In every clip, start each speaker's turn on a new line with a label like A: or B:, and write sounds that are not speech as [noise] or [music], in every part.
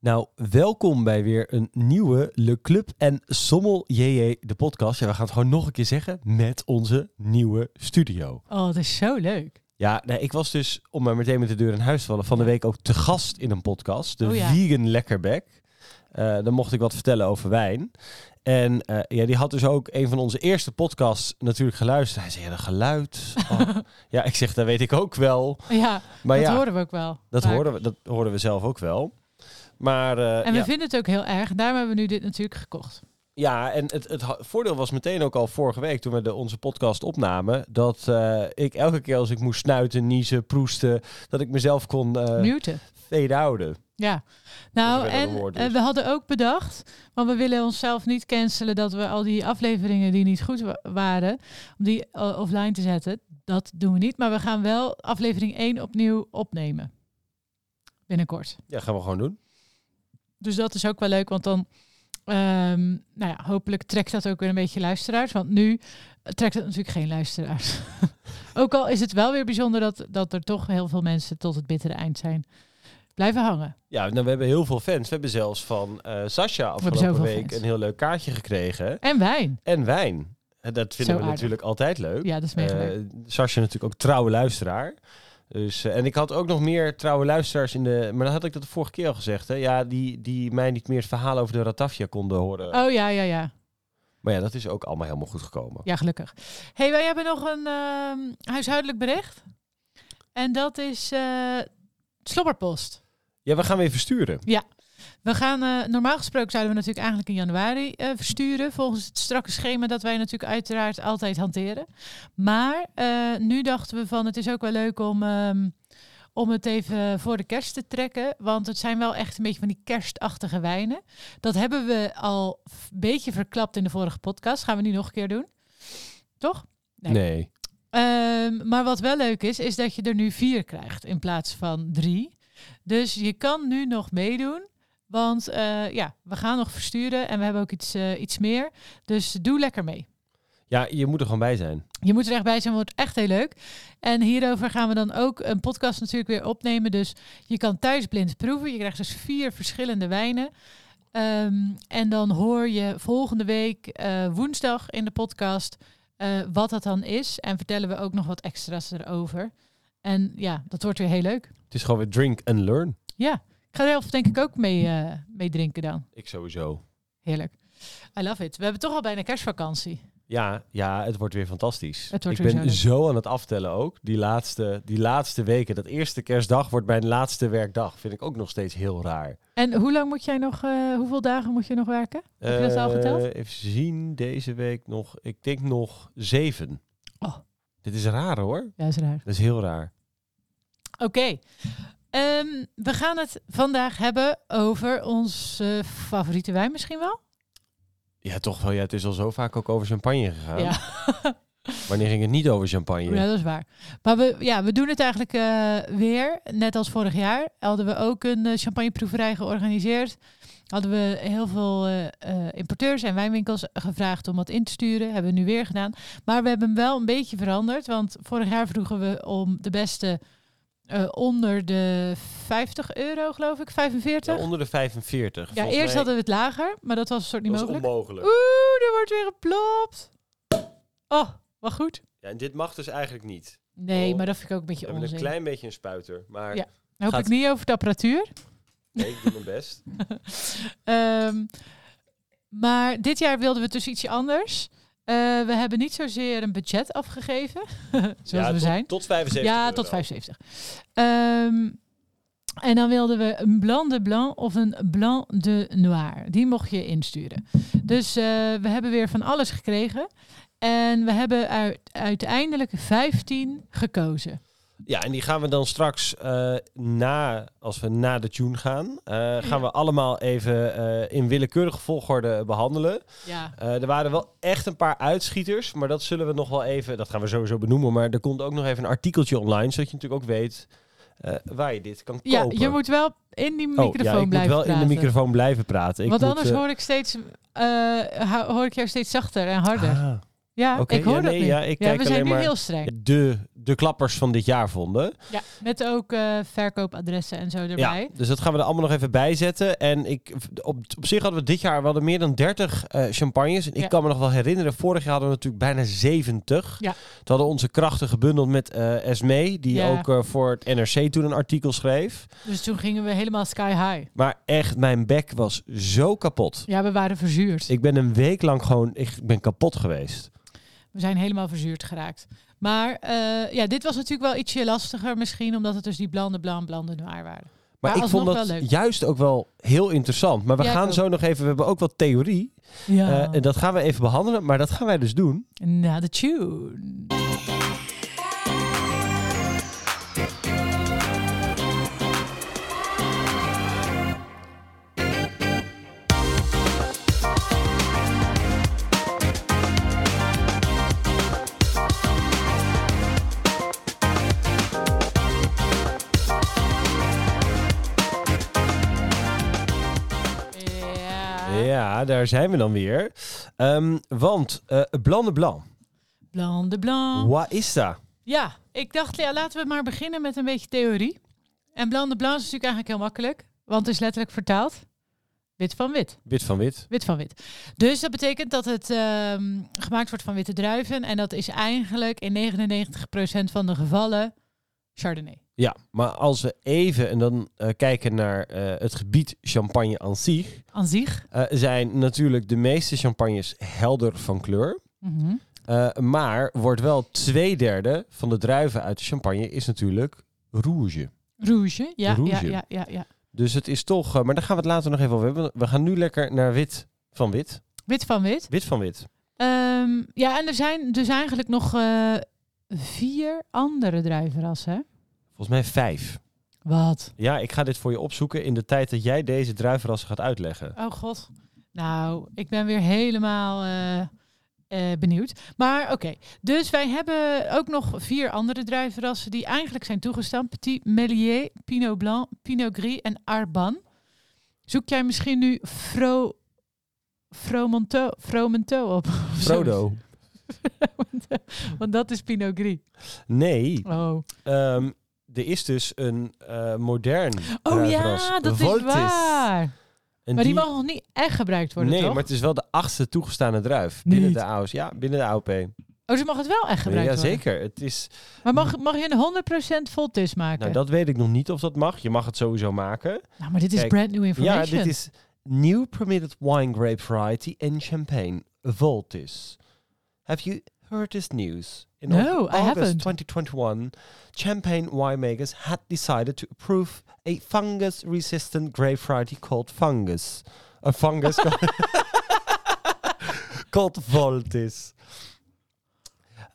A: Nou, welkom bij weer een nieuwe Le Club en Sommel JJ, de podcast. Ja, we gaan het gewoon nog een keer zeggen met onze nieuwe studio.
B: Oh, dat is zo leuk.
A: Ja, nou, ik was dus, om maar meteen met de deur in huis te vallen, van de week ook te gast in een podcast. De
B: Oh ja.
A: Vegan Lekkerback. Eh dan mocht ik wat vertellen over wijn. En eh, ja, die had dus ook een van onze eerste podcasts natuurlijk geluisterd. Hij zei, ja, dat
B: [laughs]
A: geluid. oh. ja, ik zeg, dat weet ik ook wel.
B: Oh, Ja,
A: [laughs] Maar
B: dat
A: ja,
B: horen we ook wel.
A: dat,
B: vaak.
A: hoorden we, dat hoorden we zelf ook wel. Maar, eh,
B: En we
A: ja. Eh,
B: vinden het ook heel erg. Daarom hebben we nu dit natuurlijk gekocht.
A: Ja, en het, het ha- voordeel was meteen ook al vorige week toen we de, onze podcast opnamen. Dat eh, ik elke keer als ik moest snuiten, niezen, proesten, dat ik mezelf kon eh
B: Muten.
A: fade-outen.
B: Ja.
A: Dat
B: Nou,
A: is wel
B: en
A: een woord
B: eh,
A: dus.
B: we hadden ook bedacht, want we willen onszelf niet cancelen dat we al die afleveringen die niet goed wa- waren, om die eh, offline te zetten. Dat doen we niet, maar we gaan wel aflevering 1 opnieuw opnemen. Binnenkort.
A: Ja, gaan we gewoon doen.
B: Dus dat is ook wel leuk, want dan, ehm, nou ja, hopelijk trekt dat ook weer een beetje luisteraars. Want nu trekt het natuurlijk geen luisteraars. [laughs] ook al is het wel weer bijzonder dat, dat er toch heel veel mensen tot het bittere eind zijn. Blijven hangen.
A: Ja, nou, we hebben heel veel fans. We hebben zelfs van eh Sasha afgelopen
B: zoveel
A: week
B: fans.
A: een heel leuk kaartje gekregen.
B: En wijn.
A: En wijn. En Dat vinden
B: Zo
A: we
B: aardig.
A: natuurlijk altijd leuk.
B: Ja, dat is mega leuk.
A: Eh, Sascha natuurlijk ook trouwe luisteraar. Dus, eh, en ik had ook nog meer trouwe luisteraars in de... Maar dat had ik dat de vorige keer al gezegd. Hè? Ja, die, die mij niet meer het verhaal over de Ratafia konden horen.
B: Oh ja, ja, ja.
A: Maar ja, dat is ook allemaal helemaal goed gekomen.
B: Ja, gelukkig. hey, wij hebben nog een ehm, huishoudelijk bericht. En dat is eh slobberpost.
A: Ja, we gaan weer versturen.
B: We gaan, eh, normaal gesproken zouden we natuurlijk eigenlijk in januari eh, versturen. Volgens het strakke schema dat wij natuurlijk uiteraard altijd hanteren. Maar eh, nu dachten we van het is ook wel leuk om, ehm, om het even voor de kerst te trekken. Want het zijn wel echt een beetje van die kerstachtige wijnen. Dat hebben we al een beetje verklapt in de vorige podcast. Gaan we nu nog een keer doen. Toch? Nee. Ehm, maar wat wel leuk is, is dat je er nu vier krijgt in plaats van drie. Dus je kan nu nog meedoen. Want eh, ja, we gaan nog versturen en we hebben ook iets, eh, iets meer. Dus doe lekker mee.
A: Ja, je moet er gewoon bij zijn.
B: Je moet er echt bij zijn, wordt echt heel leuk. En hierover gaan we dan ook een podcast natuurlijk weer opnemen. Dus je kan thuis blind proeven. Je krijgt dus vier verschillende wijnen. Ehm, en dan hoor je volgende week eh, woensdag in de podcast eh, wat dat dan is. En vertellen we ook nog wat extra's erover. En ja, dat wordt weer heel leuk.
A: Het is gewoon weer drink and learn.
B: Ja, ik ga zelf denk ik ook mee, eh, mee drinken dan.
A: Ik sowieso.
B: Heerlijk. I love it. We hebben toch al bijna kerstvakantie.
A: Ja, ja, het wordt weer fantastisch.
B: Het wordt
A: ik
B: weer
A: ben
B: zo
A: zo aan het aftellen ook. Die laatste, die laatste weken, dat eerste kerstdag wordt mijn laatste werkdag. Vind ik ook nog steeds heel raar.
B: En hoe lang moet jij nog, eh, hoeveel dagen moet je nog werken? Heb je dat al
A: Eh,
B: geteld?
A: Even zien, deze week nog, ik denk nog zeven.
B: Oh.
A: Dit is raar hoor.
B: Ja, is raar.
A: Dat is heel raar.
B: Oké. Ehm, we gaan het vandaag hebben over onze favoriete wijn misschien wel.
A: Ja, toch wel. Ja, het is al zo vaak ook over champagne gegaan.
B: Ja.
A: Wanneer ging het niet over champagne?
B: Ja, dat is waar. Maar we, ja, we doen het eigenlijk eh, weer. Net als vorig jaar hadden we ook een eh, champagneproeverij georganiseerd. Hadden we heel veel eh, eh, importeurs en wijnwinkels gevraagd om wat in te sturen. Hebben we nu weer gedaan. Maar we hebben hem wel een beetje veranderd. Want vorig jaar vroegen we om de beste eh, onder de 50 euro, geloof ik. 45?
A: Ja, onder de 45.
B: Ja,
A: Volgens
B: eerst
A: mij
B: hadden we het lager, maar dat was een soort niet
A: was
B: mogelijk.
A: onmogelijk.
B: Oeh, er wordt weer geplopt. Oh, wat goed.
A: Ja, en dit mag dus eigenlijk niet.
B: Nee,
A: Oh.
B: maar dat vind ik ook een
A: We
B: beetje
A: hebben
B: onzin.
A: een klein beetje een spuiter, maar
B: Ja. Hoop
A: gaat-
B: ik niet over de apparatuur.
A: nee, ik doe mijn best.
B: Ehm, maar dit jaar wilden we dus ietsje anders. Eh, we hebben niet zozeer een budget afgegeven, [laughs] [laughs]
A: ja,
B: zoals we
A: tot,
B: zijn.
A: Tot 75
B: Ja,
A: euro.
B: tot 75. Ehm, en dan wilden we een blanc de blanc of een blanc de noir. Die mocht je insturen. Dus eh, we hebben weer van alles gekregen. En we hebben uit, uiteindelijk 15 gekozen.
A: Ja, en die gaan we dan straks eh, na, als we na de tune gaan, eh, gaan we allemaal even eh, in willekeurige volgorde behandelen.
B: Ja.
A: Eh, er waren wel echt een paar uitschieters, maar dat zullen we nog wel even, dat gaan we sowieso benoemen, maar er komt ook nog even een artikeltje online, zodat je natuurlijk ook weet eh, waar je dit kan
B: Ja,
A: kopen.
B: je moet wel in die
A: Oh,
B: microfoon
A: ja, ik
B: blijven
A: moet wel in
B: praten.
A: de microfoon blijven praten. Ik
B: Want
A: moet,
B: anders
A: eh,
B: hoor ik steeds, eh, hou- hoor ik jou steeds zachter en harder.
A: ah,
B: ja,
A: oké.
B: ik hoor
A: Ja,
B: dat
A: nee,
B: nu.
A: ja, ik kijk
B: we zijn
A: alleen
B: nu
A: maar-
B: heel streng.
A: de, de de klappers van dit jaar vonden.
B: Ja, met ook eh, verkoopadressen en zo erbij.
A: Ja, dus dat gaan we er allemaal nog even bij zetten. En ik, op, op zich hadden we dit jaar we hadden meer dan 30 eh, champagnes. En ik
B: Ja.
A: kan me nog wel herinneren, vorig jaar hadden we natuurlijk bijna 70.
B: Ja.
A: Toen hadden we onze krachten gebundeld met eh Esme, die
B: Ja.
A: ook eh, voor het NRC toen een artikel schreef.
B: Dus toen gingen we helemaal sky high.
A: Maar echt, mijn bek was zo kapot.
B: Ja, we waren verzuurd.
A: Ik ben een week lang gewoon, ik ben kapot geweest.
B: We zijn helemaal verzuurd geraakt. Maar eh, ja, dit was natuurlijk wel ietsje lastiger misschien, omdat het dus die blande, blan, blande noir waren.
A: Maar,
B: Maar
A: ik
B: alsnog
A: vond dat
B: wel leuk.
A: juist ook wel heel interessant. Maar we
B: Ja, ik
A: gaan
B: ook.
A: zo nog even, we hebben ook wat theorie.
B: Ja.
A: Eh, en dat gaan we even behandelen, maar dat gaan wij dus doen.
B: Na de tune. Ja.
A: Ja, daar zijn we dan weer. Ehm, want eh Blanc de Blanc,
B: Blanc de blanc.
A: wat is dat?
B: Ja, ik dacht, ja, laten we maar beginnen met een beetje theorie. En Blanc de Blanc is natuurlijk eigenlijk heel makkelijk, want het is letterlijk vertaald. Wit van wit,
A: Wit van wit.
B: wit van wit. Dus dat betekent dat het ehm, gemaakt wordt van witte druiven. En dat is eigenlijk in 99% van de gevallen Chardonnay.
A: Ja, maar als we even en dan eh, kijken naar eh, het gebied champagne aan zich,
B: Aan zich.
A: eh, zijn natuurlijk de meeste champagnes helder van kleur.
B: Mhm.
A: Eh, maar wordt wel twee derde van de druiven uit de champagne is natuurlijk rouge.
B: Rouge, ja,
A: Rouge.
B: ja, ja, ja, ja.
A: Dus het is toch, eh, maar daar gaan we het later nog even over hebben. We gaan nu lekker naar wit van wit.
B: Wit van wit.
A: Wit van wit.
B: Ehm, ja, en er zijn dus eigenlijk nog eh, vier andere druivenrassen. hè?
A: Volgens mij vijf.
B: Wat?
A: Ja, ik ga dit voor je opzoeken in de tijd dat jij deze druivenrassen gaat uitleggen.
B: Oh god. Nou, ik ben weer helemaal eh, eh, benieuwd. Maar oké, dus wij hebben ook nog vier andere druivenrassen die eigenlijk zijn toegestaan. Petit Melier, Pinot Blanc, Pinot Gris en Arban. Zoek jij misschien nu Fro... Fromonto, Fromenteau op? of zo?
A: Frodo.
B: [laughs] Want dat is Pinot Gris.
A: Nee,
B: Oh,
A: ehm, er is dus een eh, modern
B: oh
A: druivenras,
B: ja, dat
A: Voltis.
B: is waar.
A: En
B: maar die, mag nog niet echt gebruikt worden,
A: Nee,
B: toch?
A: maar het is wel de achtste toegestane druif
B: Niet.
A: binnen de AOS. Ja, binnen de AOP.
B: Oh, ze mag het wel echt gebruikt worden?
A: Jazeker. Het is,
B: Maar mag, mag je een 100% voltis maken?
A: nou, dat weet ik nog niet of dat mag. Je mag het sowieso maken.
B: Nou, maar dit is
A: Kijk,
B: brand new
A: Ja,
B: information.
A: dit is New Permitted Wine Grape Variety and Champagne, Voltis. Have you heard this news? In
B: No,
A: Au-
B: I
A: August
B: haven't.
A: 2021, champagne winemakers had decided to approve a fungus-resistant grape variety called fungus. A
B: [laughs]
A: fungus called, [laughs] called Voltis.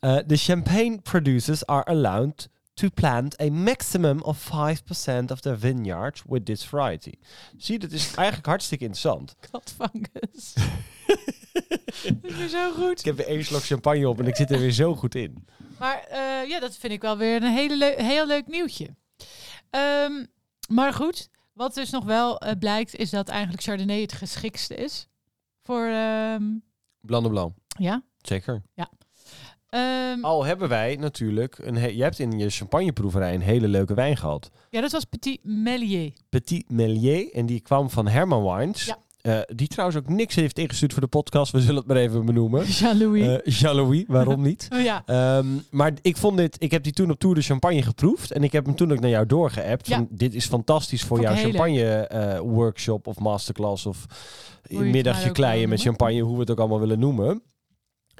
A: Uh, the champagne producers are allowed to plant a maximum of 5% of their vineyard with this variety. Zie, dat
B: [laughs]
A: is eigenlijk hartstikke interessant.
B: Katvangus. dat is weer zo goed.
A: Ik heb weer één slok champagne op en ik zit er weer zo goed in.
B: Maar eh, ja, dat vind ik wel weer een hele leu- heel leuk nieuwtje. Ehm, maar goed, wat dus nog wel eh, blijkt, is dat eigenlijk Chardonnay het geschikste is. Voor, ehm,
A: Blanc de blanc.
B: ja.
A: Zeker.
B: Ehm,
A: Al hebben wij natuurlijk... Een he- je hebt in je champagneproeverij een hele leuke wijn gehad.
B: Ja, dat was Petit Melier.
A: Petit Melier. En die kwam van Herman Wines.
B: Ja.
A: Eh, die trouwens ook niks heeft ingestuurd voor de podcast. We zullen het maar even benoemen.
B: [laughs] Jean-Louis.
A: Eh Jean-Louis, waarom niet?
B: Oh ja,
A: Ehm, maar ik vond dit, ik heb die toen op Tour de Champagne geproefd. En ik heb hem toen ook naar jou doorgeappt.
B: Ja.
A: Van, dit is fantastisch voor
B: Vond
A: jouw
B: ik heel
A: champagne eh, workshop of masterclass. Of
B: je het maar
A: middagje
B: ook eh, wil
A: kleien met
B: noemen.
A: champagne, hoe we het ook allemaal willen noemen.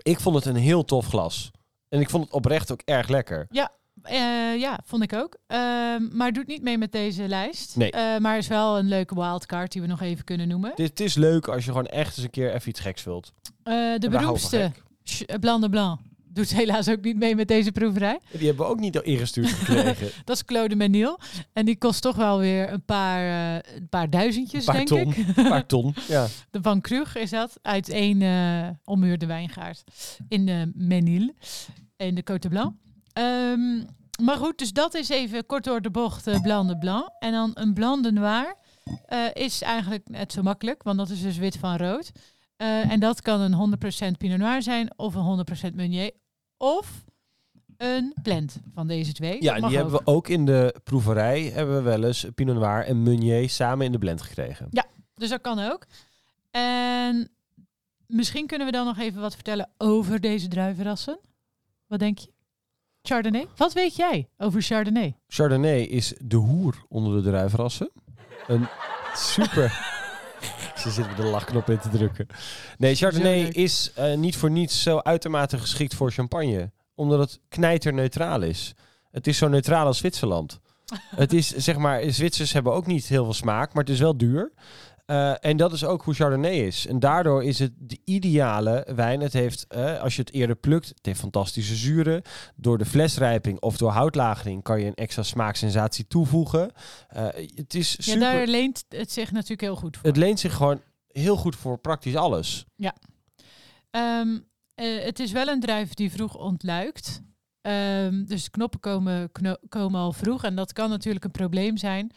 A: Ik vond het een heel tof glas. En ik vond het oprecht ook erg lekker.
B: Eh, ja, vond ik ook. Ehm, maar doet niet mee met deze lijst.
A: Nee.
B: Eh, maar is wel een leuke wildcard die we nog even kunnen noemen.
A: Dit het is leuk als je gewoon echt eens een keer even iets geks wilt.
B: Eh, de
A: En wij houden van
B: beroemdste, Ch- eh, Blanc de Blanc, doet helaas ook niet mee met deze proeverij.
A: gek. Die hebben we ook niet ingestuurd
B: [laughs]
A: gekregen.
B: Dat is Claude Menil. En die kost toch wel weer een paar, eh, een paar duizendjes,
A: Een paar
B: denk
A: ton.
B: ik. [laughs]
A: Een paar ton. Ja.
B: De Van Krug is dat, uit één eh ommuurde wijngaard in de Menil, in de Côte Blanc. Ehm, maar goed, dus dat is even kort door de bocht eh Blanc de Blanc. En dan een Blanc de Noir eh, is eigenlijk net zo makkelijk, want dat is dus wit van rood. Eh, en dat kan een 100% Pinot Noir zijn, of een 100% Meunier, of een blend van deze twee.
A: Ja,
B: Dat
A: en
B: mag
A: die hebben
B: ook.
A: we ook in de proeverij. Hebben we wel eens Pinot Noir en Meunier samen in de blend gekregen.
B: Dus dat kan ook. En misschien kunnen we dan nog even wat vertellen over deze druivenrassen. Wat denk je? Chardonnay? Wat weet jij over Chardonnay?
A: Chardonnay is de hoer onder de druivenrassen. Een super...
B: [laughs]
A: Ze zitten de lachknop in te drukken. Nee, Chardonnay
B: Zo leuk.
A: is eh, niet voor niets zo uitermate geschikt voor champagne. Omdat het knijterneutraal is. Het is zo neutraal als
B: [laughs]
A: Zwitserland. het is, zeg maar, Zwitsers hebben ook niet heel veel smaak, maar het is wel duur. Eh, en dat is ook hoe Chardonnay is. En daardoor is het de ideale wijn. Het heeft, eh, als je het eerder plukt, het heeft fantastische zuren. Door de flesrijping of door houtlagering kan je een extra smaaksensatie toevoegen. Eh, het is super...
B: Ja, daar leent het zich natuurlijk heel goed voor.
A: Het leent zich gewoon heel goed voor praktisch alles.
B: Ehm, eh, het is wel een druif die vroeg ontluikt. Ehm, dus de knoppen komen, kno- komen al vroeg. En dat kan natuurlijk een probleem zijn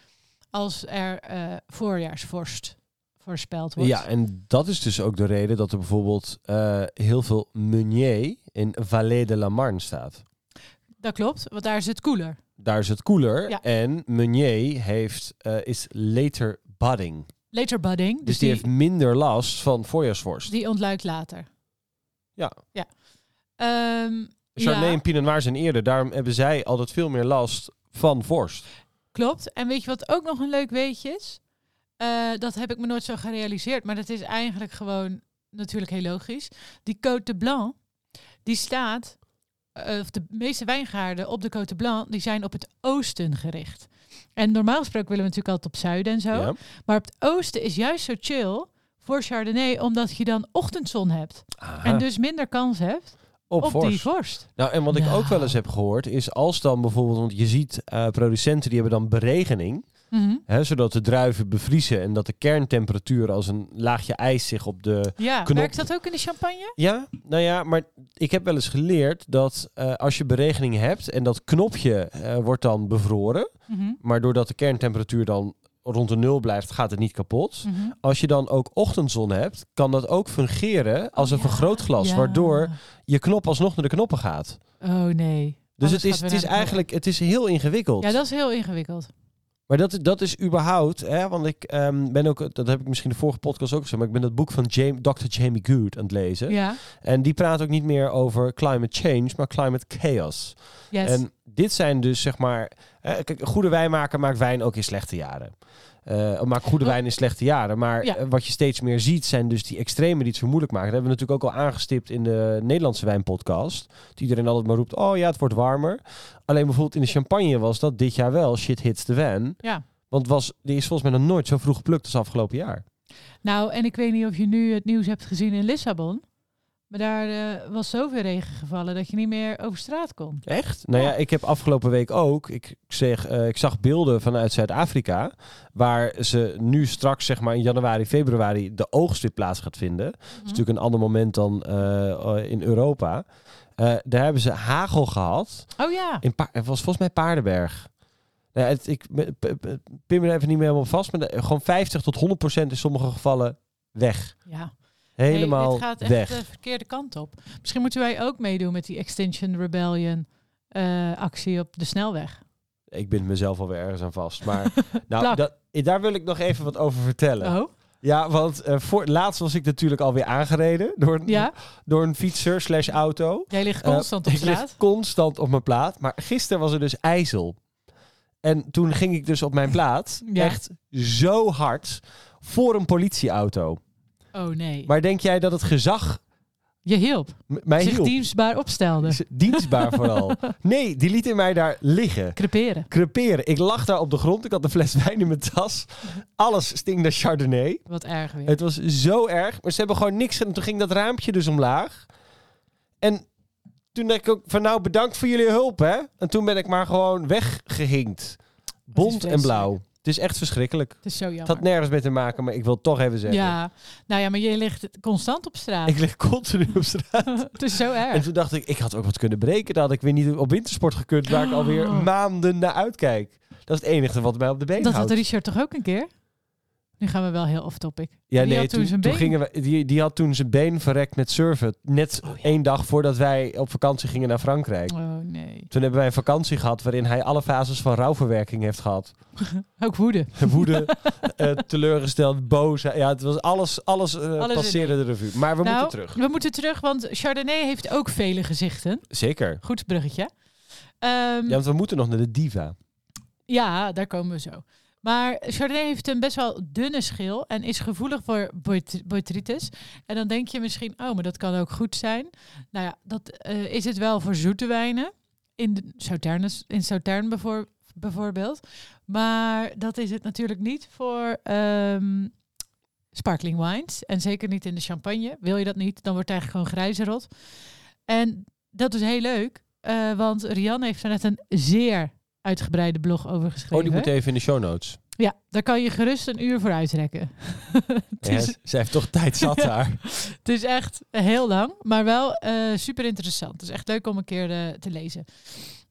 B: als er eh, voorjaarsvorst voorspeld wordt.
A: Ja, en dat is dus ook de reden dat er bijvoorbeeld eh, heel veel Meunier in Vallée de la Marne staat.
B: Dat klopt, want daar is het koeler.
A: Daar is het koeler.
B: Ja.
A: En Meunier heeft, eh, is later budding.
B: Later budding, dus,
A: Dus die
B: die,
A: heeft minder last van voorjaarsvorst.
B: die ontluikt later.
A: Ja.
B: ja. Ehm,
A: Chardonnay
B: ja.
A: en Pinot Noir zijn eerder. Daarom hebben zij altijd veel meer last van vorst.
B: Klopt. En weet je wat ook nog een leuk weetje is? Eh, dat heb ik me nooit zo gerealiseerd, maar dat is eigenlijk gewoon natuurlijk heel logisch. Die Côte de Blanc, die staat, eh, of de meeste wijngaarden op de Côte de Blanc, die zijn op het oosten gericht. En normaal gesproken willen we natuurlijk altijd op zuiden en zo.
A: Ja.
B: Maar op het oosten is juist zo chill voor Chardonnay, omdat je dan ochtendzon hebt. En dus minder kans hebt
A: Ah. op
B: op,
A: vorst.
B: die vorst.
A: Nou, en wat ik
B: Nou.
A: ook wel eens heb gehoord is als dan bijvoorbeeld, want je ziet eh, producenten die hebben dan beregening,
B: Mhm.
A: hè, zodat de druiven bevriezen en dat de kerntemperatuur als een laagje ijs zich op de
B: Ja,
A: Knop.
B: werkt dat ook in de champagne?
A: Ja, nou ja, maar ik heb wel eens geleerd dat eh, als je beregening hebt en dat knopje eh, wordt dan bevroren,
B: Mhm.
A: maar doordat de kerntemperatuur dan rond de nul blijft, gaat het niet kapot.
B: Mhm.
A: Als je dan ook ochtendzon hebt, kan dat ook fungeren als een
B: ja.
A: vergrootglas,
B: Ja.
A: waardoor je knop alsnog naar de knoppen gaat.
B: Oh nee.
A: Dus
B: Alles
A: het
B: gaat
A: is,
B: weer
A: het is
B: naar de
A: eigenlijk het is heel ingewikkeld.
B: Ja, dat is heel ingewikkeld.
A: Maar dat, dat is überhaupt, hè, want ik ehm, ben ook, dat heb ik misschien de vorige podcast ook gezegd, maar ik ben dat boek van Jam- Dr. Jamie Good aan het lezen.
B: Ja,
A: En die praat ook niet meer over climate change, maar climate chaos.
B: yes.
A: En dit zijn dus zeg maar. eh, kijk, een goede wijnmaker maakt wijn ook in slechte jaren. Eh maakt goede
B: Wa-
A: wijn in slechte jaren. Maar
B: Ja.
A: eh, wat je steeds meer ziet zijn dus die extremen die het zo moeilijk maken. Dat hebben we natuurlijk ook al aangestipt in de Nederlandse wijnpodcast. Dat iedereen altijd maar roept: oh ja, het wordt warmer. Alleen bijvoorbeeld in de champagne was dat dit jaar wel shit hits the van.
B: Ja.
A: Want was, die is volgens mij nog nooit zo vroeg geplukt als afgelopen jaar.
B: Nou, en ik weet niet of je nu het nieuws hebt gezien in Lissabon. Maar daar eh, was zoveel regen gevallen dat je niet meer over straat kon.
A: Echt? Nou ja,
B: Ja.
A: ik heb afgelopen week ook. Ik, zeg, eh, ik zag beelden vanuit Zuid-Afrika. Waar ze nu straks, zeg maar in januari, februari. de oogst weer plaats gaat vinden. Dat is
B: Hm.
A: natuurlijk een ander moment dan eh, eh, in Europa. Eh, daar hebben ze hagel gehad.
B: Oh ja.
A: In Pa- het was volgens mij Paardenberg. Nou, het, ik me- p- p- pin me er even niet meer helemaal vast. Maar de- gewoon 50 tot 100 procent in sommige gevallen weg.
B: ja. Nee,
A: Helemaal
B: dit gaat echt eh,
A: weg.
B: de verkeerde kant op. Misschien moeten wij ook meedoen met die Extinction Rebellion eh, actie op de snelweg.
A: Ik bind mezelf alweer ergens aan vast.
B: [laughs]
A: Maar nou,
B: Plak.
A: dat, daar wil ik nog even wat over vertellen.
B: Oh,
A: Ja, want eh, voor, laatst was ik natuurlijk alweer aangereden door een,
B: ja.
A: door een fietser slash auto.
B: Jij ligt constant
A: Eh,
B: op
A: ik lig
B: straat.
A: constant op mijn plaat. Maar gisteren was er dus ijzel. En toen ging ik dus op mijn plaat
B: [laughs] Ja.
A: echt zo hard voor een politieauto.
B: Oh nee.
A: Maar denk jij dat het gezag
B: je hielp.
A: m- mij
B: Zich
A: hielp?
B: dienstbaar opstelde.
A: Is
B: [laughs]
A: Dienstbaar vooral. Nee, die lieten mij daar liggen.
B: Creperen.
A: Creperen. Ik lag daar op de grond. Ik had een fles wijn in mijn tas. Alles sting naar Chardonnay.
B: Wat erg weer.
A: Het was zo erg. Maar ze hebben gewoon niks gedaan. Toen ging dat raampje dus omlaag. En toen dacht ik ook van nou bedankt voor jullie hulp hè. En toen ben ik maar gewoon weggehinkt. Bond en
B: vreselijk.
A: blauw. Het is echt verschrikkelijk.
B: het is zo
A: Het
B: jammer.
A: had nergens mee te maken, maar ik wil het toch even zeggen.
B: Ja, nou ja, maar je ligt constant op straat.
A: Ik lig continu op straat.
B: het is zo
A: En
B: erg.
A: toen dacht ik, ik had ook wat kunnen breken. Dan had ik weer niet op wintersport gekund, waar ik alweer
B: Oh.
A: maanden naar uitkijk. Dat is het enige wat mij op de been
B: Dat had
A: houdt.
B: Richard toch ook een keer? Nu gaan we wel heel off-topic.
A: Ja,
B: Die
A: nee,
B: had toen
A: toen,
B: zijn
A: toen
B: been-
A: gingen we, die, die had toen zijn been verrekt met surfen. Net één dag voordat wij op vakantie gingen naar Frankrijk.
B: Oh nee.
A: Toen hebben wij een vakantie gehad waarin hij alle fases van rouwverwerking heeft
B: [laughs]
A: gehad.
B: Ook woede.
A: Woede, eh, teleurgesteld, boos. Ja, het was alles, alles, eh,
B: Alles in
A: passeerde de revue. Maar we
B: Nou,
A: moeten terug.
B: We moeten terug, want Chardonnay heeft ook vele gezichten.
A: Zeker.
B: Goed bruggetje. Ehm,
A: Ja, want we moeten nog naar de diva.
B: Ja, daar komen we zo. Maar Chardonnay heeft een best wel dunne schil en is gevoelig voor bot- botrytis. En dan denk je misschien, oh, maar dat kan ook goed zijn. Nou ja, dat eh, is het wel voor zoete wijnen. In de Sauternes- in Sautern bevoor- bijvoorbeeld. Maar dat is het natuurlijk niet voor ehm, sparkling wines. En zeker niet in de champagne. Wil je dat niet, dan wordt het eigenlijk gewoon grijze rot. En dat is heel leuk, eh, want Rianne heeft er net een zeer uitgebreide blog over geschreven.
A: Oh, die moet even in de show notes.
B: Ja, daar kan je gerust een uur voor uitrekken. [laughs] het,
A: Ja,
B: is,
A: zij heeft toch
B: [laughs]
A: tijd zat
B: Ja.
A: daar.
B: het is echt heel lang, maar wel eh, super interessant. Het is echt leuk om een keer eh, te lezen.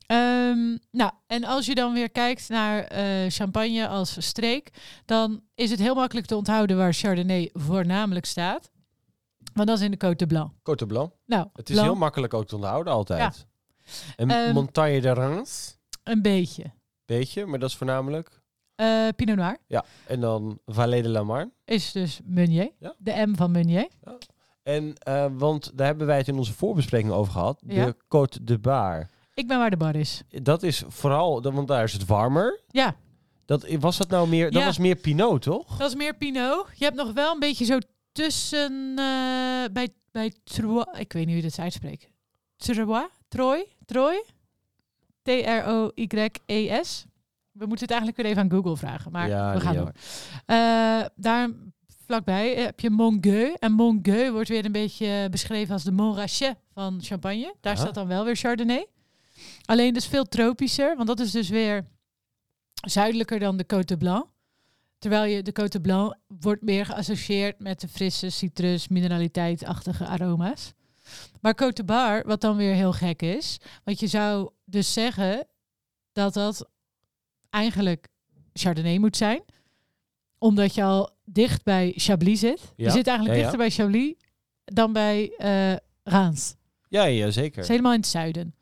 B: Ehm, nou, en als je dan weer kijkt naar eh, champagne als streek, dan is het heel makkelijk te onthouden waar Chardonnay voornamelijk staat. Want dat is in de Côte de Blanc.
A: Cote Blanc.
B: Nou,
A: Het is
B: Blanc-
A: heel makkelijk ook te onthouden altijd. En
B: Ehm,
A: Montagne de Reims,
B: een beetje.
A: beetje, maar dat is voornamelijk.
B: Eh, Pinot Noir
A: En dan Vallée de la Marne.
B: is dus Meunier.
A: Ja.
B: De M van Meunier.
A: En, eh, want daar hebben wij het in onze voorbespreking over gehad.
B: Ja.
A: De Côte de Bar.
B: Ik ben waar de bar is.
A: Dat is vooral, dat- want daar is het warmer.
B: Ja,
A: Dat, was dat nou meer, dat
B: Ja.
A: was meer Pinot, toch?
B: dat is meer Pinot. Je hebt nog wel een beetje zo tussen... eh, bij, bij Troyes... Ik weet niet hoe je dat uitspreekt. Troyes? Troy? Troy? T-R-O-Y-E-S. E We moeten het eigenlijk weer even aan Google vragen. Maar
A: Ja,
B: we gaan
A: Leo.
B: door. Eh, daar vlakbij eh, heb je Mongueux. En Mongueux wordt weer een beetje eh, beschreven als de Montrachet van Champagne. Daar
A: Ja.
B: staat dan wel weer Chardonnay. Alleen dus veel tropischer, want dat is dus weer zuidelijker dan de Côte de Blanc. Terwijl je de Côte de Blanc wordt meer geassocieerd met de frisse citrus, mineraliteitachtige aroma's. Maar Côte de Bar, wat dan weer heel gek is, want je zou dus zeggen dat dat eigenlijk Chardonnay moet zijn, omdat je al dicht bij Chablis zit.
A: Ja,
B: Je zit eigenlijk
A: ja, ja.
B: dichter bij Chablis dan bij eh Raans.
A: Ja, ja zeker.
B: Het is helemaal in het zuiden.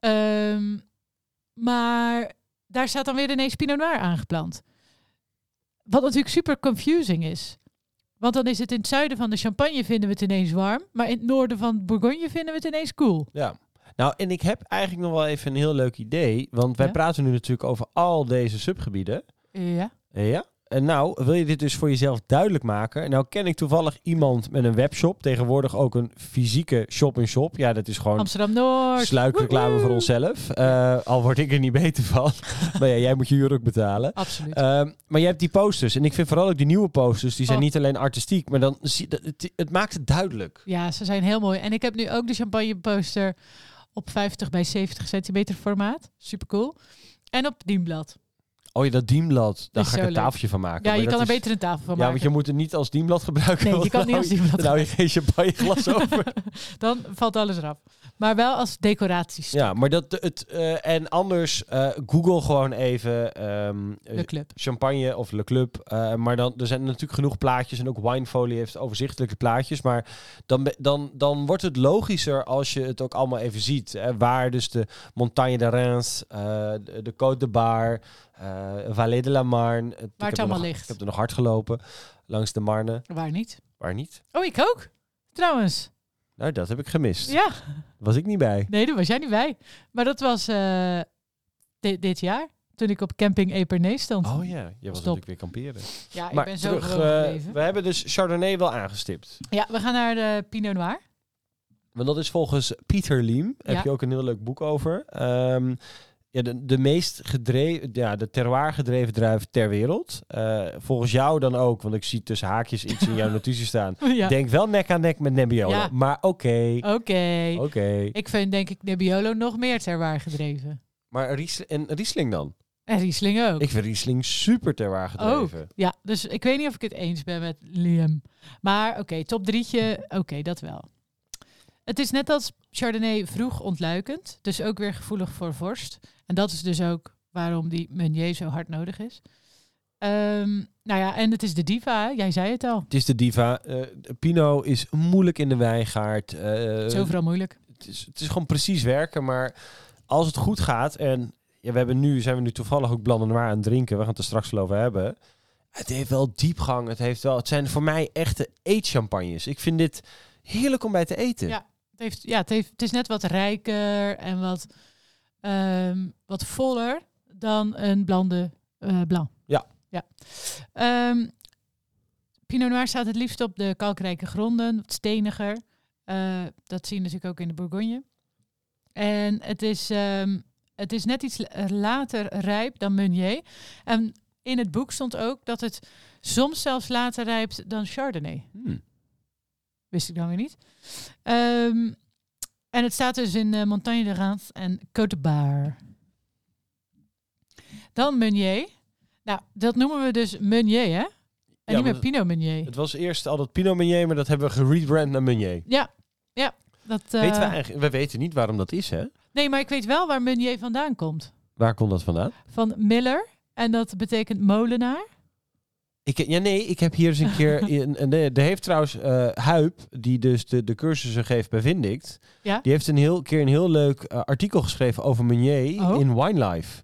B: Ehm, maar daar staat dan weer ineens Pinot Noir aangeplant. Wat natuurlijk super confusing is. Want dan is het in het zuiden van de Champagne vinden we het ineens warm. Maar in het noorden van Bourgogne vinden we het ineens koel.
A: Ja. Nou, en ik heb eigenlijk nog wel even een heel leuk idee. Want wij
B: Ja?
A: praten nu natuurlijk over al deze subgebieden.
B: Ja.
A: Ja. En nou, wil je dit dus voor jezelf duidelijk maken? Nou ken ik toevallig iemand met een webshop. Tegenwoordig ook een fysieke shop-in-shop. Ja, dat is gewoon
B: Amsterdam-Noord.
A: sluikreclame
B: Woehoe.
A: voor onszelf. Eh, al word ik er niet beter van. [laughs] maar ja, jij moet je huur ook betalen.
B: Absoluut.
A: Ehm, maar je hebt die posters. En ik vind vooral ook die nieuwe posters. Die zijn
B: Oh.
A: niet alleen artistiek. Maar dan zie, dat- het, het maakt het duidelijk.
B: Ja, ze zijn heel mooi. En ik heb nu ook de champagne poster op 50 bij 70 centimeter formaat. Super cool. En op dienblad.
A: Oh ja, dat dienblad. Daar
B: Is
A: ga ik
B: zo
A: een
B: leuk.
A: tafeltje van maken.
B: Ja,
A: Maar
B: je
A: dat
B: kan er
A: is-
B: beter een tafel
A: Ja,
B: van maken.
A: want je moet het niet als dienblad gebruiken.
B: Nee, je
A: want
B: kan het niet
A: dan
B: als
A: hou je-
B: dienblad
A: Dan hou je geen champagneglas
B: [laughs]
A: over.
B: Dan valt alles eraf. Maar wel als decoraties.
A: ja, maar dat het... eh, en anders, eh, google gewoon even ehm, eh,
B: De club.
A: champagne of Le Club. eh, maar dan, er zijn natuurlijk genoeg plaatjes. En ook Winefolie heeft overzichtelijke plaatjes. Maar dan, be- dan, dan wordt het logischer als je het ook allemaal even ziet. Hè, waar dus de Montagne de Reims, eh, de, de Côte de Bar, eh Vallée de la Marne. Ik heb er
B: allemaal
A: nog-
B: ligt.
A: Ik heb er nog hard gelopen. Langs de Marne.
B: Waar niet?
A: Waar niet?
B: Oh, ik ook. Trouwens.
A: Nou, dat heb ik gemist.
B: Ja,
A: Was ik niet bij.
B: nee, daar was jij niet bij. Maar dat was eh, di- dit jaar. Toen ik op camping Epernay stond.
A: Oh ja, je was
B: Stop.
A: natuurlijk weer kamperen.
B: Ja, ik
A: maar
B: ben zo
A: terug,
B: gewoon
A: eh,
B: gebleven.
A: we hebben dus Chardonnay wel aangestipt.
B: Ja, we gaan naar de Pinot Noir. [laughs]
A: Want dat is volgens Pieter Liem,
B: Ja.
A: heb je ook een heel leuk boek over. Ehm, ja, de, de meest gedreven, ja, de terroir gedreven druif ter wereld. Eh, volgens jou dan ook, want ik zie tussen haakjes iets
B: [laughs]
A: in jouw notitie staan.
B: ja.
A: Denk wel nek aan nek met Nebbiolo,
B: Ja.
A: maar oké, oké.
B: Oké. Ik vind denk ik Nebbiolo nog meer terwaar gedreven.
A: Maar Riesling, en Riesling dan?
B: En Riesling ook.
A: Ik vind Riesling super
B: Oh.
A: terroir gedreven.
B: Ja, dus ik weet niet of ik het eens ben met Liam. Maar oké, top drietje, oké, dat wel. Het is net als Chardonnay vroeg ontluikend, dus ook weer gevoelig voor vorst. En dat is dus ook waarom die Meunier zo hard nodig is. Ehm, Nou ja, en het is de diva, hè? jij zei het al.
A: Het is de diva. Eh, Pino is moeilijk in de wijngaard. Eh,
B: Het is overal moeilijk.
A: het, is, het is gewoon precies werken. Maar als het goed gaat en ja, we hebben nu, zijn we nu toevallig ook Blanc de Noir aan het drinken. We gaan het er straks wel over hebben. Het heeft wel diepgang. Het, heeft wel, het zijn voor mij echte eetchampagnes. Ik vind dit heerlijk om bij te eten.
B: Ja. Het, heeft, ja, het, heeft, het is net wat rijker en wat, ehm, wat voller dan een blande eh blanc.
A: Ja.
B: ja. Ehm, Pinot Noir staat het liefst op de kalkrijke gronden, wat steniger. Eh, dat zie je natuurlijk ook in de Bourgogne. En het is, ehm, het is net iets la- later rijp dan Meunier. En in het boek stond ook dat het soms zelfs later rijpt dan Chardonnay.
A: Hmm.
B: Wist ik dan weer niet. Ehm, en het staat dus in eh, Montagne de Reims en Côte de Bar. Dan Meunier. Nou, dat noemen we dus Meunier, hè? En
A: Ja,
B: niet meer
A: maar-
B: Pinot Meunier.
A: Het was eerst altijd Pinot Meunier, maar dat hebben we gerebrand naar Meunier.
B: Ja, ja. Dat, eh,
A: Weten we, eigenlijk, we weten niet waarom dat is, hè?
B: nee, maar ik weet wel waar Meunier vandaan komt.
A: Waar komt dat vandaan?
B: Van Miller. En dat betekent molenaar.
A: Ik, ja, nee, ik heb hier eens een
B: [laughs]
A: keer... In, en de- er heeft trouwens eh Huip, die dus de, de cursussen geeft bij Vindict...
B: Ja.
A: die heeft een heel, keer een heel leuk eh, artikel geschreven over Meunier
B: Oh.
A: in Winelife.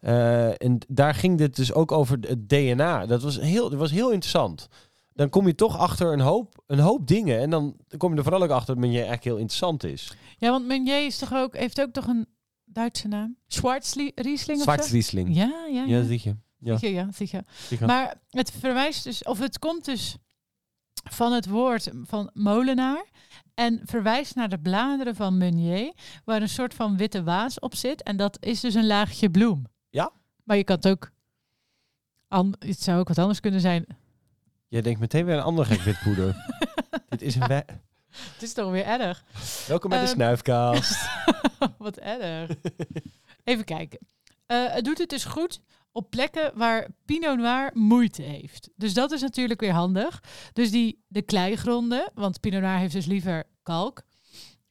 A: Eh, en daar ging dit dus ook over het DNA. Dat was heel, dat was heel interessant. Dan kom je toch achter een hoop, een hoop dingen. En dan kom je er vooral ook achter dat Meunier eigenlijk heel interessant is.
B: Ja, want Meunier is toch ook, heeft ook toch een Duitse naam? Schwarzriesling of zo?
A: Riesling. Ja,
B: Ja, ja, ja.
A: dat zie je. Ja.
B: Sicher, ja, sicher.
A: Sicher.
B: Maar het verwijst dus, of het komt dus van het woord van molenaar en verwijst naar de bladeren van Meunier, waar een soort van witte waas op zit. En dat is dus een laagje bloem.
A: Ja.
B: Maar je kan het ook, an- het zou ook wat anders kunnen zijn.
A: Jij denkt meteen weer een ander gek witpoeder.
B: [laughs]
A: dit is een... wij-
B: Het is toch weer erg.
A: Welkom bij de
B: Ehm.
A: snuifkaas.
B: [laughs] Wat erg. Even kijken. Eh, het doet het dus goed op plekken waar Pinot Noir moeite heeft. Dus dat is natuurlijk weer handig. Dus die, de kleigronden, want Pinot Noir heeft dus liever kalk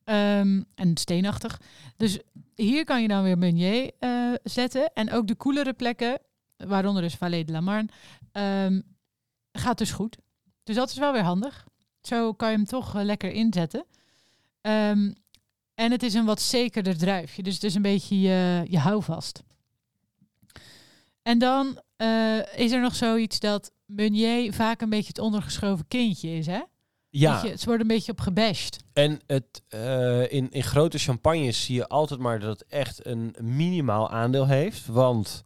B: ehm, en steenachtig. Dus hier kan je dan weer Meunier eh, zetten. En ook de koelere plekken, waaronder dus Vallée de la Marne, ehm, gaat dus goed. Dus dat is wel weer handig. Zo kan je hem toch eh, lekker inzetten. Ehm, en het is een wat zekerder druifje. Dus het is een beetje je, je houvast. En dan eh, is er nog zoiets dat Meunier vaak een beetje het ondergeschoven kindje is. Hè?
A: ja.
B: Dat je- ze worden een beetje op gebashed.
A: En het, eh, in, in grote champagnes zie je altijd maar dat het echt een minimaal aandeel heeft. Want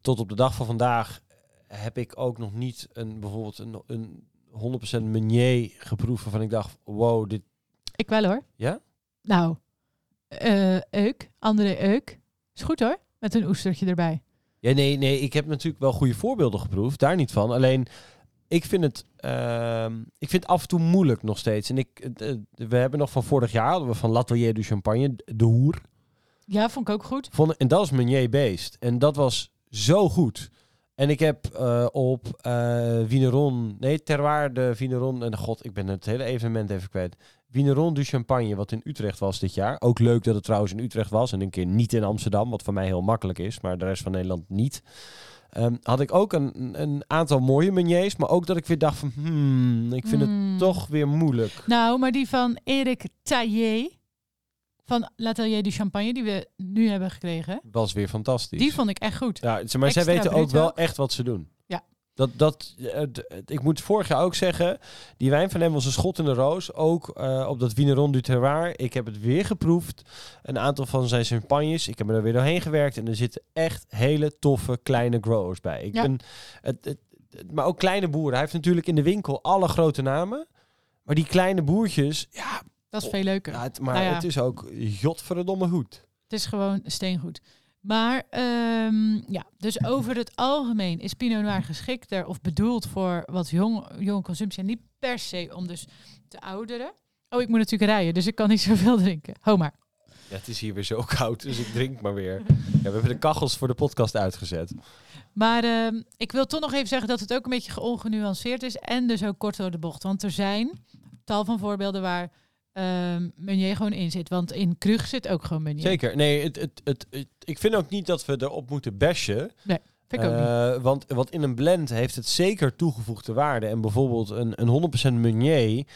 A: tot op de dag van vandaag heb ik ook nog niet een, bijvoorbeeld een, een 100% meunier geproefd waarvan ik dacht, wow, dit...
B: Ik wel hoor.
A: Ja?
B: Nou, eh Euk, André Euk. Is goed hoor, met een oestertje erbij.
A: Ja, nee, nee, ik heb natuurlijk wel goede voorbeelden geproefd, daar niet van. Alleen, ik vind het, ehm, ik vind het af en toe moeilijk nog steeds. En ik, het, het- we hebben nog van vorig jaar, hadden we van L'Atelier du Champagne, de hoer.
B: Ja, vond ik ook goed.
A: Vond, en dat is Meunier Beest. En dat was zo goed. En ik heb eh, op eh Vineron, nee, terwaar de Vineron, en god, ik ben het hele evenement even kwijt. Vineron du Champagne, wat in Utrecht was dit jaar. Ook leuk dat het trouwens in Utrecht was en een keer niet in Amsterdam, wat voor mij heel makkelijk is, maar de rest van Nederland niet. Ehm, had ik ook een, een aantal mooie Meuniers, maar ook dat ik weer dacht van, hmm, ik vind
B: Hmm.
A: het toch weer moeilijk.
B: Nou, maar die van Erik Taillé van L'Atelier du Champagne, die we nu hebben gekregen,
A: Was weer fantastisch.
B: die vond ik echt goed.
A: Ja, ze- maar zij
B: Extra
A: weten ook
B: bruto.
A: wel echt wat ze doen.
B: Ja.
A: Dat, dat, eh, d- eh, ik moet vorig jaar ook zeggen, die wijn van hem was een schot in de roos. Ook eh, op dat Wineron du Terroir. Ik heb het weer geproefd. Een aantal van zijn champagnes. Ik heb er weer doorheen gewerkt. En er zitten echt hele toffe kleine growers bij. Ik
B: Ja.
A: ben, het, het, het- maar ook kleine boeren. Hij heeft natuurlijk in de winkel alle grote namen. Maar die kleine boertjes, ja,
B: Dat is veel leuker.
A: ja, het, maar
B: Nou ja.
A: het is ook godverdomme goed.
B: Het is gewoon steengoed. Maar ehm, ja, dus over het algemeen is Pinot Noir geschikter of bedoeld voor wat jong, jonge consumptie. En niet per se om dus te ouderen. Oh, ik moet natuurlijk rijden, dus ik kan niet [laughs] zoveel drinken. Ho maar.
A: Ja, het is hier weer zo [laughs] koud, dus ik drink maar
B: [laughs]
A: weer. Ja, we hebben de kachels voor de podcast uitgezet.
B: Maar ehm, ik wil toch nog even zeggen dat het ook een beetje ongenuanceerd is. En dus ook kort door de bocht. Want er zijn tal van voorbeelden waar ehm Meunier gewoon in zit. Want in Krug zit ook gewoon Meunier.
A: Zeker. Nee, het, het, het, het- ik vind ook niet dat we erop moeten bashen.
B: Nee. Vind ik ook niet.
A: Eh, want, want in een blend heeft het zeker toegevoegde waarde. En bijvoorbeeld een, een 100% Meunier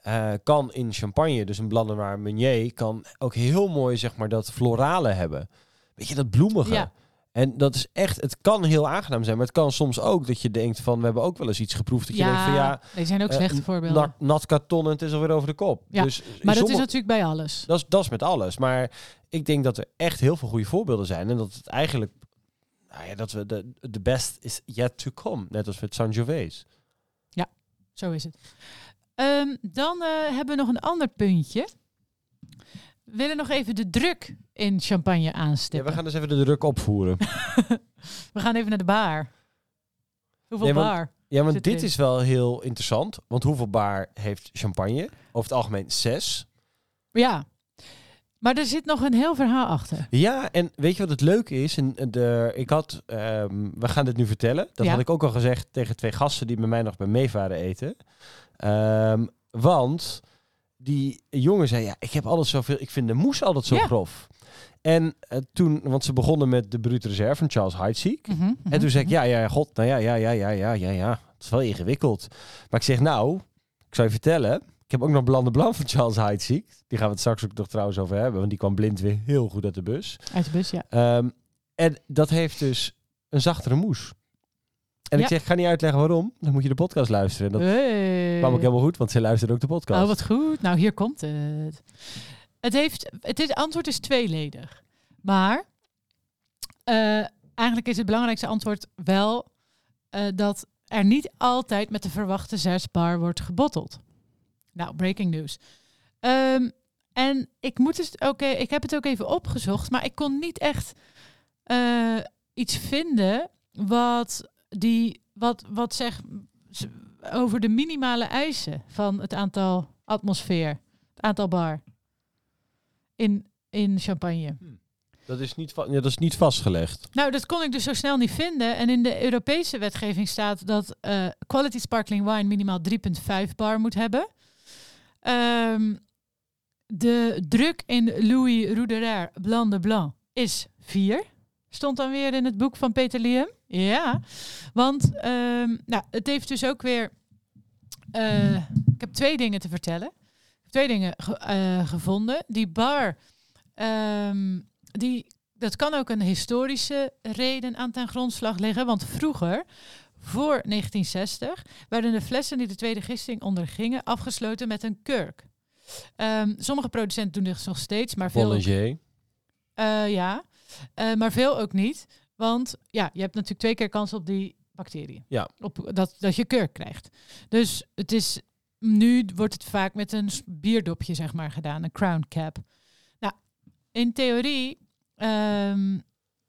A: eh, kan in champagne, dus een blanc de noir Meunier, kan ook heel mooi zeg maar dat florale hebben. Weet je, dat bloemige.
B: Ja.
A: En dat is echt, het kan heel aangenaam zijn, maar het kan soms ook dat je denkt van, we hebben ook wel eens iets geproefd. Dat je denkt van, ja,
B: nee, er zijn ook
A: eh,
B: slechte voorbeelden.
A: nat, nat karton en het is alweer over de kop.
B: Ja,
A: Dus
B: maar dat
A: sommige-
B: is natuurlijk bij alles.
A: dat is, dat is met alles. Maar ik denk dat er echt heel veel goede voorbeelden zijn. En dat het eigenlijk... Nou ja, dat we de, de best is yet to come. Net als met Sangiovese.
B: Zo is het. Ehm, dan eh, hebben we nog een ander puntje. We willen nog even de druk in champagne
A: Ja, we
B: aanstippen.
A: gaan dus even de druk opvoeren.
B: We gaan even naar de bar. Hoeveel
A: Nee, want-
B: bar?
A: Ja, want
B: Zit
A: dit
B: erin.
A: is wel heel interessant. Want hoeveel bar heeft champagne? Over het algemeen zes.
B: Ja. Maar er zit nog een heel verhaal achter.
A: Ja, en weet je wat het leuke is? En eh, de, ik had, ehm, we gaan dit nu vertellen. Dat
B: Ja.
A: had ik ook al gezegd tegen twee gasten die bij mij nog bij meevaren eten. Ehm, want die jongen zei, ja, ik heb altijd zoveel, ik vind de moes altijd zo
B: Ja.
A: grof. En eh, toen, want ze begonnen met de brute reserve van Charles Heidsieck.
B: Mhm, mhm,
A: En toen zei ik,
B: mhm.
A: ja, ja, ja, god, nou ja, ja, ja, ja, ja, ja, ja. Het is wel ingewikkeld. Maar ik zeg, nou, ik zal je vertellen. Ik heb ook nog Blande Blanc van Charles Heidsieck. Die gaan we het straks ook nog trouwens over hebben. Want die kwam blind weer heel goed uit de bus.
B: Uit de bus, ja.
A: Ehm, en dat heeft dus een zachtere moes. En
B: Ja.
A: ik zeg, ik ga niet uitleggen waarom. Dan moet je de podcast luisteren. En dat
B: Hey.
A: kwam ook helemaal goed, want ze luistert ook de podcast.
B: Oh, wat goed. Nou, hier komt het. Het, heeft, het is, antwoord is tweeledig. Maar eh, eigenlijk is het belangrijkste antwoord wel eh, dat er niet altijd met de verwachte zes bar wordt gebotteld. Nou, breaking news. Ehm, en ik, moet dus, oké, ik heb het ook even opgezocht, maar ik kon niet echt eh, iets vinden wat, die, wat, wat zegt z- over de minimale eisen van het aantal atmosfeer, het aantal bar in, in champagne.
A: Dat, is niet va- ja, dat is niet vastgelegd.
B: Nou, dat kon ik dus zo snel niet vinden. En in de Europese wetgeving staat dat eh, quality sparkling wine minimaal 3,5 bar moet hebben. Ehm, de druk in Louis Roederer Blanc de Blanc is 4. Stond dan weer in het boek van Peter Liam. Ja, want ehm, nou, het heeft dus ook weer... eh, ik heb twee dingen te vertellen. Ik heb twee dingen ge- eh, gevonden. Die bar, ehm, die dat kan ook een historische reden aan ten grondslag liggen. Want vroeger, voor 1960, werden de flessen die de tweede gisting ondergingen afgesloten met een kurk. Ehm, sommige producenten doen dit nog steeds, maar veel,
A: Bollinger.
B: eh, ja. Eh, maar veel ook niet. Want ja, je hebt natuurlijk twee keer kans op die bacteriën.
A: Ja.
B: Op, dat, dat je kurk krijgt. Dus het is, nu wordt het vaak met een s- bierdopje zeg maar gedaan. Een crown cap. Nou, in theorie ehm,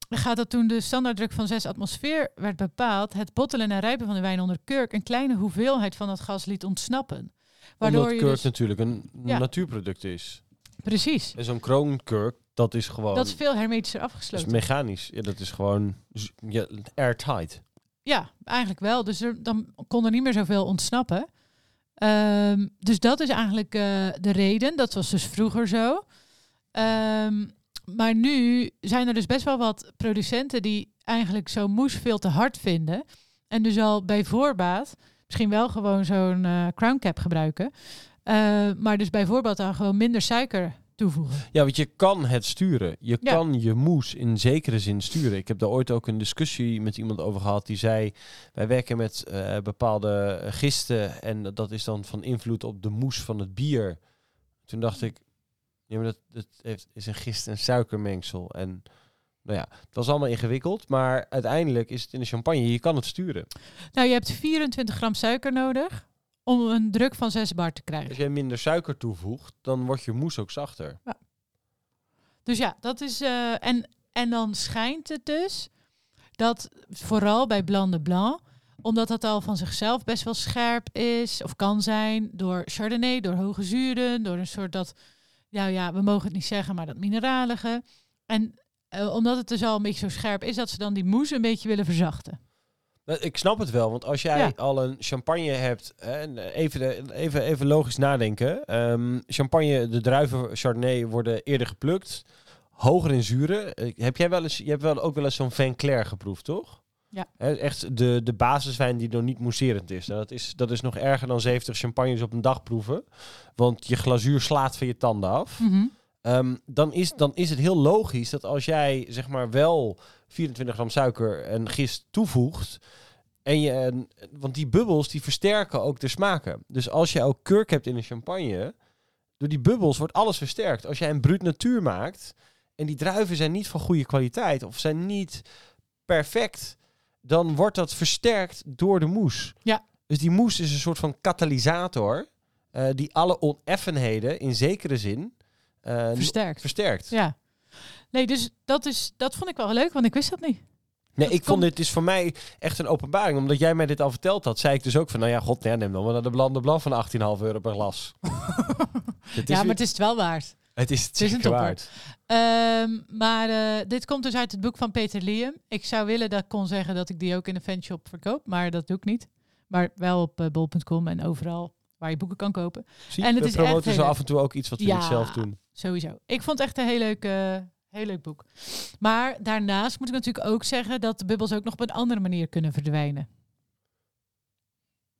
B: gaat dat toen de standaarddruk van 6 atmosfeer werd bepaald... het bottelen en rijpen van de wijn onder kurk... een kleine hoeveelheid van dat gas liet ontsnappen. Waardoor
A: Omdat
B: je
A: kurk
B: dus,
A: natuurlijk een
B: Ja.
A: natuurproduct is.
B: Precies.
A: En zo'n kroonkurk, dat is gewoon...
B: Dat is veel hermetischer
A: dat is
B: afgesloten.
A: mechanisch. Ja, dat is gewoon z- ja, airtight.
B: Ja, eigenlijk wel. Dus er, dan kon er niet meer zoveel ontsnappen. Ehm, dus dat is eigenlijk eh, de reden. Dat was dus vroeger zo. Ehm, maar nu zijn er dus best wel wat producenten die eigenlijk zo'n moes veel te hard vinden. En dus al bij voorbaat misschien wel gewoon zo'n eh, crown cap gebruiken. Eh, maar dus bij voorbaat dan gewoon minder suiker toevoegen.
A: Ja, want je kan het sturen. Je
B: Ja.
A: kan je moes in zekere zin sturen. Ik heb daar ooit ook een discussie met iemand over gehad die zei: wij werken met eh, bepaalde gisten en dat- dat is dan van invloed op de moes van het bier. Toen dacht ik: ja, maar dat, dat heeft, is een gist en suikermengsel en nou ja, het was allemaal ingewikkeld, maar uiteindelijk is het in de champagne. Je kan het sturen.
B: Nou, je hebt 24 gram suiker nodig om een druk van 6 bar te krijgen.
A: Als jij minder suiker toevoegt, dan wordt je moes ook zachter.
B: Dus ja, dat is. eh, en, en dan schijnt het dus dat vooral bij Blanc de Blanc, omdat dat al van zichzelf best wel scherp is, of kan zijn, door Chardonnay, door hoge zuren, door een soort dat. Nou ja, we mogen het niet zeggen, maar dat mineralige. En eh, omdat het dus al een beetje zo scherp is, dat ze dan die moes een beetje willen verzachten.
A: Nou, Ik snap het wel, want als jij
B: Ja.
A: al een champagne hebt, hè, en eh, even, de- even, even logisch nadenken. Ehm, champagne, de druiven Chardonnay worden eerder geplukt, hoger in zuren. Eh, Heb jij wel eens, je hebt wel ook wel eens zo'n Van Clair geproefd, toch?
B: Ja.
A: Hè, echt de, de basiswijn die nog niet mousserend is. Nou, dat is. Dat is nog erger dan 70 champagnes op een dag proeven. Want je glazuur slaat van je tanden af.
B: Mhm.
A: Ehm, dan, is, dan is het heel logisch dat als jij zeg maar wel 24 gram suiker en gist toevoegt. En je, en- want die bubbels die versterken ook de smaken. Dus als jij ook kurk hebt in een champagne, door die bubbels wordt alles versterkt. Als jij een bruut natuur maakt en die druiven zijn niet van goede kwaliteit of zijn niet perfect, dan wordt dat versterkt door de moes.
B: Ja.
A: Dus die moes is een soort van katalysator eh, die alle oneffenheden in zekere zin eh,
B: Versterkt.
A: versterkt.
B: Ja. Nee, dus dat, is, dat vond ik wel leuk, want ik wist dat niet.
A: Nee,
B: Dat
A: ik vond
B: komt-
A: dit is voor mij echt een openbaring. Omdat jij mij dit al verteld had, zei ik dus ook van... Nou ja, god, nee, neem dan maar naar de Blanc de Blanc van 18,5 euro per glas. [laughs] Het
B: ja,
A: is
B: maar
A: weer-
B: het is het wel waard.
A: het is het
B: is een
A: zeker
B: topper.
A: waard.
B: Ehm, maar eh, dit komt dus uit het boek van Peter Liam. Ik zou willen dat ik kon zeggen dat ik die ook in een fanshop verkoop, maar dat doe ik niet. Maar wel op eh, bol.com en overal waar je boeken kan kopen.
A: Zie,
B: En het
A: we
B: is echt
A: promoten zo
B: heel
A: af en toe ook iets wat we
B: Ja.
A: niet zelf doen.
B: Sowieso. Ik vond het echt een heel leuk, eh, heel leuk boek. Maar daarnaast moet ik natuurlijk ook zeggen dat de bubbels ook nog op een andere manier kunnen verdwijnen.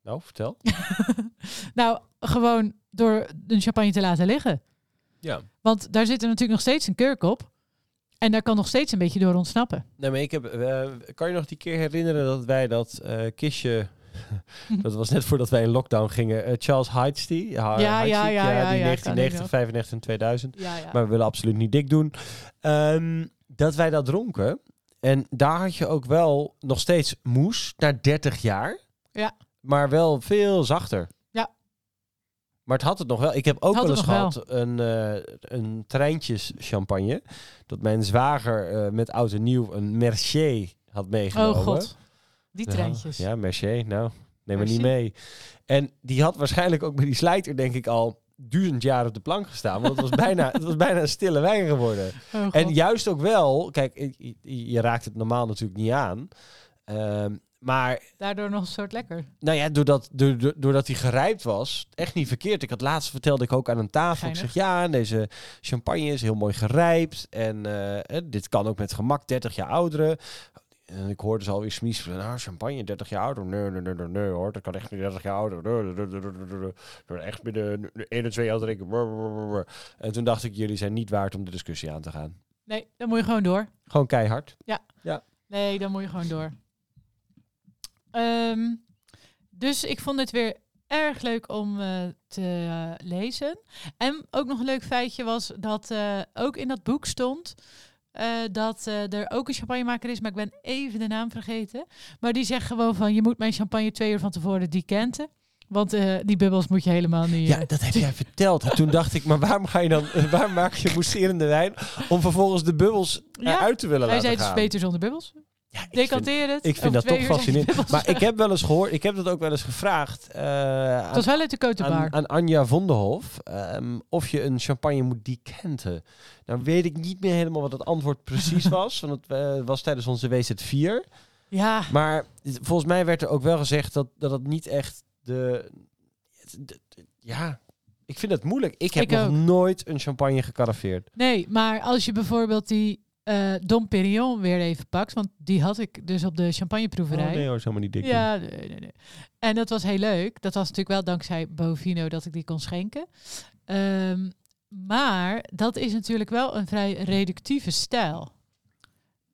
A: Nou, vertel.
B: Nou, gewoon door een champagne te laten liggen.
A: Ja.
B: Want daar zit er natuurlijk nog steeds een kurk op. En daar kan nog steeds een beetje door ontsnappen.
A: Nee, maar ik heb... eh, kan je nog die keer herinneren dat wij dat eh,
B: [laughs]
A: kistje... dat was net voordat wij in lockdown gingen. eh, Charles Heidstee. Ja,
B: ja, ja,
A: die
B: ja, ja, kan ik
A: 1990,
B: nog.
A: 95 en 2000.
B: Ja, ja.
A: Maar we willen absoluut niet dik doen. Ehm, dat wij dat dronken. En daar had je ook wel nog steeds moes na 30 jaar.
B: Ja.
A: Maar wel veel zachter.
B: Ja.
A: Maar het had het nog wel. Ik heb ook
B: Had
A: wel eens
B: het nog
A: gehad een, eh, een treintjes champagne. Dat mijn zwager eh, met oud en nieuw een Mercier had meegenomen.
B: oh god, die
A: Ja,
B: treintjes.
A: Ja, Mercier, nou, neem me niet
B: Mercier.
A: mee. En die had waarschijnlijk ook bij die slijter, denk ik, al duizend jaar op de plank gestaan. Want het was bijna, het was bijna een stille wijn geworden.
B: Oh, god.
A: En juist ook wel, kijk, je, je- je raakt het normaal natuurlijk niet aan. Ehm, maar
B: Daardoor nog een soort lekker.
A: nou ja, doordat, doord- doordat hij gerijpt was, echt niet verkeerd. Ik had laatst vertelde ik ook aan een tafel. Ik
B: Geinig.
A: zeg ja, deze champagne is heel mooi gerijpt. En eh, eh, dit kan ook met gemak 30 jaar ouderen. En ik hoorde ze alweer smies van, nou, champagne 30 jaar ouder. Nee, nee, nee, nee, nee hoor, dat kan echt niet 30 jaar ouder. Nee, nee, nee, nee, nee, nee, nee. Door Echt binnen 1 of 2 jaar drinken. Brr, brr, brr, brr. En toen dacht ik, jullie zijn niet waard om de discussie aan te gaan.
B: Nee, dan moet je gewoon door.
A: Gewoon keihard.
B: Nee, dan moet je gewoon door. Ehm, dus ik vond het weer erg leuk om eh, te eh, lezen. En ook nog een leuk feitje was dat eh, ook in dat boek stond eh, dat eh, er ook een champagnemaker is, maar ik ben even de naam vergeten. Maar die zegt gewoon van je moet mijn champagne twee uur van tevoren decenten. Want eh, die bubbels moet je helemaal niet.
A: Ja,
B: eh,
A: dat heb jij verteld. En toen dacht ik, maar waarom ga je dan, [laughs] waarom maak je mousserende wijn om vervolgens de bubbels
B: Ja,
A: eruit te willen
B: Hij
A: nou, laten
B: zei dus
A: gaan?
B: beter zonder bubbels.
A: Ja, ik vind,
B: Decanteer het.
A: ik vind
B: Over
A: dat
B: twee
A: toch
B: uur zijn die
A: fascinerend.
B: bubbels
A: Maar ik
B: weg.
A: heb wel eens gehoord, ik heb dat ook wel eens gevraagd eh,
B: Het
A: aan,
B: was wel uit de Kotenbaar.
A: aan, aan Anja Vonderhof ehm, of je een champagne moet decenten. Nou weet ik niet meer helemaal wat het antwoord
B: [laughs]
A: precies was, want het eh, was tijdens onze WZ4.
B: Ja,
A: Maar het- volgens mij werd er ook wel gezegd dat dat, het niet echt de, het- de- de- Ja, ik vind het moeilijk. Ik heb
B: Ik
A: nog
B: ook.
A: nooit een champagne gecaraffeerd.
B: Nee, maar als je bijvoorbeeld die eh Dom Perignon weer even pakt, want die had ik dus op de champagneproeverij.
A: Oh, nee hoor, is helemaal niet dik.
B: ja, nee, nee, nee. En dat was heel leuk. Dat was natuurlijk wel dankzij Bovino dat ik die kon schenken. Ehm, maar dat is natuurlijk wel een vrij reductieve stijl.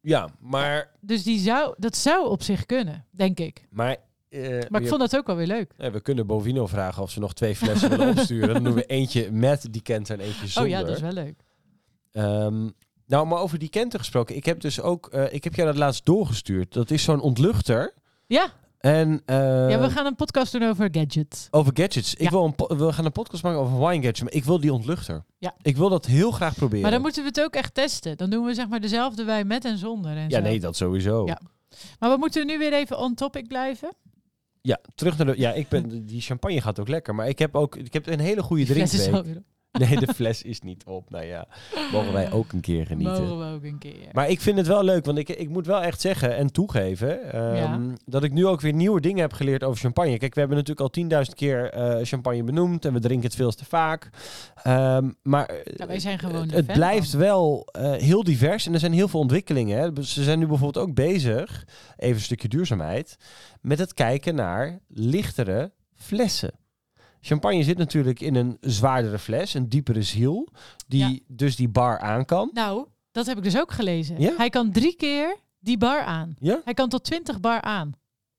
A: Ja, maar...
B: Dus die zou, dat zou op zich kunnen, denk ik.
A: maar eh,
B: Maar ik
A: je-
B: vond dat ook wel weer leuk.
A: Nee, we kunnen Bovino vragen of ze nog twee flessen
B: [laughs]
A: willen opsturen. Dan doen we eentje met die kenter en eentje
B: Oh
A: zonder.
B: ja, dat is wel leuk.
A: Ehm, nou, maar over die kenter gesproken. Ik heb dus ook... eh, ik heb jou dat laatst doorgestuurd. Dat is zo'n ontluchter.
B: Ja,
A: En... eh,
B: ja we gaan een podcast doen over gadgets.
A: Over gadgets. Ik
B: Ja.
A: wil een po- we gaan een podcast maken over wine gadgets. Maar ik wil die ontluchter.
B: Ja.
A: Ik wil dat heel graag proberen.
B: Maar dan moeten we het ook echt testen. Dan doen we zeg maar dezelfde wijn met en zonder. En
A: ja,
B: zo.
A: nee, dat sowieso.
B: dus, eh, Ja. Maar we moeten nu weer even on topic blijven.
A: Ja, terug naar de... Ja, ik ben... Die champagne gaat ook lekker. Maar ik heb ook... Ik heb een hele goede
B: Die fles is
A: drinkweek.
B: alweer op.
A: Nee, de fles is niet op. Nou ja, mogen wij ook een keer genieten.
B: Mogen we ook een keer.
A: eh. Maar ik vind het wel leuk, want ik, ik moet wel echt zeggen en toegeven ehm,
B: Ja.
A: dat ik nu ook weer nieuwe dingen heb geleerd over champagne. Kijk, we hebben natuurlijk al 10.000 keer eh, champagne benoemd en we drinken het veel te vaak. Ehm, maar eh,
B: Ja, Nou, wij zijn gewoon
A: het,
B: de
A: het
B: fan
A: blijft
B: van.
A: wel eh, heel divers en er zijn heel veel ontwikkelingen. Hè. Dus Ze zijn nu bijvoorbeeld ook bezig, even een stukje duurzaamheid, met het kijken naar lichtere flessen. Champagne zit natuurlijk in een zwaardere fles, een diepere ziel, die dus die bar aan kan.
B: Nou, dat heb ik dus ook gelezen.
A: Ja?
B: Hij kan drie keer die bar aan.
A: Ja?
B: Hij kan tot 20 bar aan.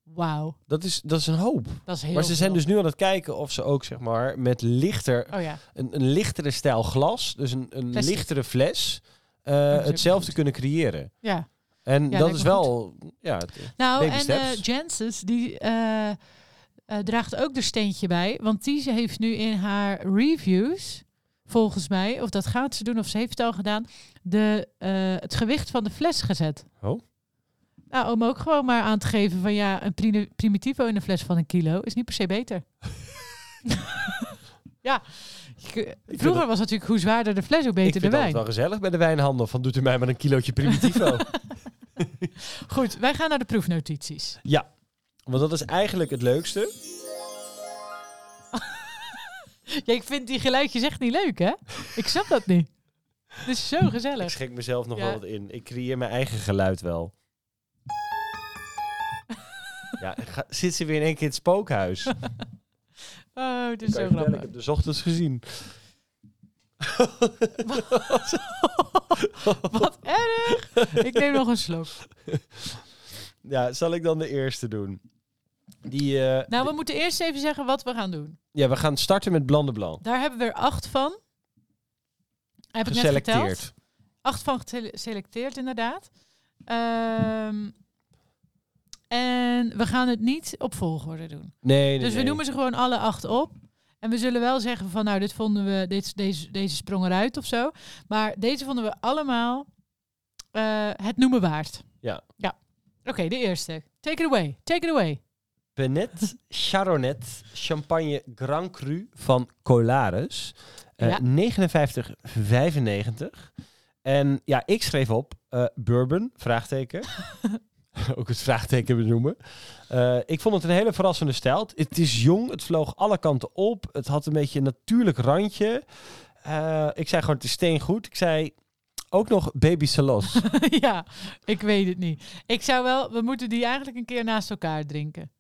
B: Wauw,
A: Dat is, dat is een hoop.
B: dat is heel
A: maar ze zijn
B: veel.
A: dus nu aan het kijken of ze ook zeg maar met lichter,
B: Oh ja,
A: een, een lichtere stijl glas, dus een, een
B: Plastic.
A: lichtere fles, eh,
B: is ook
A: hetzelfde
B: goed.
A: kunnen creëren.
B: ja.
A: En
B: Ja,
A: dat
B: lijkt
A: is
B: me
A: wel, ja, het-
B: Nou,
A: Baby
B: en eh
A: steps.
B: Janssens, die eh, eh, draagt ook er steentje bij. Want die heeft nu in haar reviews, volgens mij, of dat gaat ze doen of ze heeft het al gedaan, de, eh, het gewicht van de fles gezet.
A: Oh.
B: Nou, om ook gewoon maar aan te geven van ja, een primi- primitivo in een fles van een kilo is niet per se
A: [laughs]
B: beter. ja, Je-
A: vind
B: vroeger
A: dat-
B: was natuurlijk hoe zwaarder de fles, hoe
A: ik
B: beter
A: vind
B: de
A: het
B: wijn.
A: altijd wel gezellig bij de wijnhandel. Van doet u mij maar een kilootje
B: [laughs]
A: primitivo.
B: Goed, wij gaan naar de proefnotities.
A: ja, want dat is eigenlijk het leukste.
B: [laughs] Ja, ik vind die geluidjes echt niet leuk, hè? Ik snap dat niet. Het is zo
A: Ik
B: gezellig.
A: schrik mezelf nog
B: Ja.
A: wel wat in. Ik creëer mijn eigen geluid
B: [laughs]
A: wel. Ja, ga- zit ze weer in één keer in het spookhuis?
B: Oh, het is
A: Ik kan je
B: zo
A: vertellen, ik
B: grappig.
A: heb de ochtends [laughs] gezien.
B: Wat erg! Ik neem nog een slok.
A: Ja, zal ik dan de eerste doen? Die, eh,
B: Nou, we moeten eerst even zeggen wat we gaan doen.
A: Ja, we gaan starten met Blanc de Blanc.
B: Daar hebben we er acht van. Heb ik net geteld.
A: Geselecteerd.
B: Acht van geselecteerd, inderdaad. Ehm, en we gaan het niet op volgorde doen.
A: Nee, nee,
B: Dus we
A: nee.
B: noemen ze gewoon alle acht op. En we zullen wel zeggen van, nou, dit vonden we, dit, deze, deze sprong eruit of zo. Maar deze vonden we allemaal eh, het noemen waard.
A: Ja.
B: Ja. Oké, de eerste. Take it away. Take it away. [laughs]
A: Benet Charonet Champagne Grand Cru van Colaris. Eh,
B: Ja.
A: 59,95. En ja, ik schreef op eh, bourbon,
B: [laughs]
A: vraagteken. Ook het vraagteken benoemen. Eh, ik vond het een hele verrassende stijl. Het- Het is jong, het vloog alle kanten op. Het had een beetje een natuurlijk randje. Eh, ik zei gewoon, het is steengoed. Ik zei ook nog baby
B: [laughs]
A: salos.
B: ja, ik weet het niet. Ik zou wel, we moeten die eigenlijk een keer naast elkaar drinken.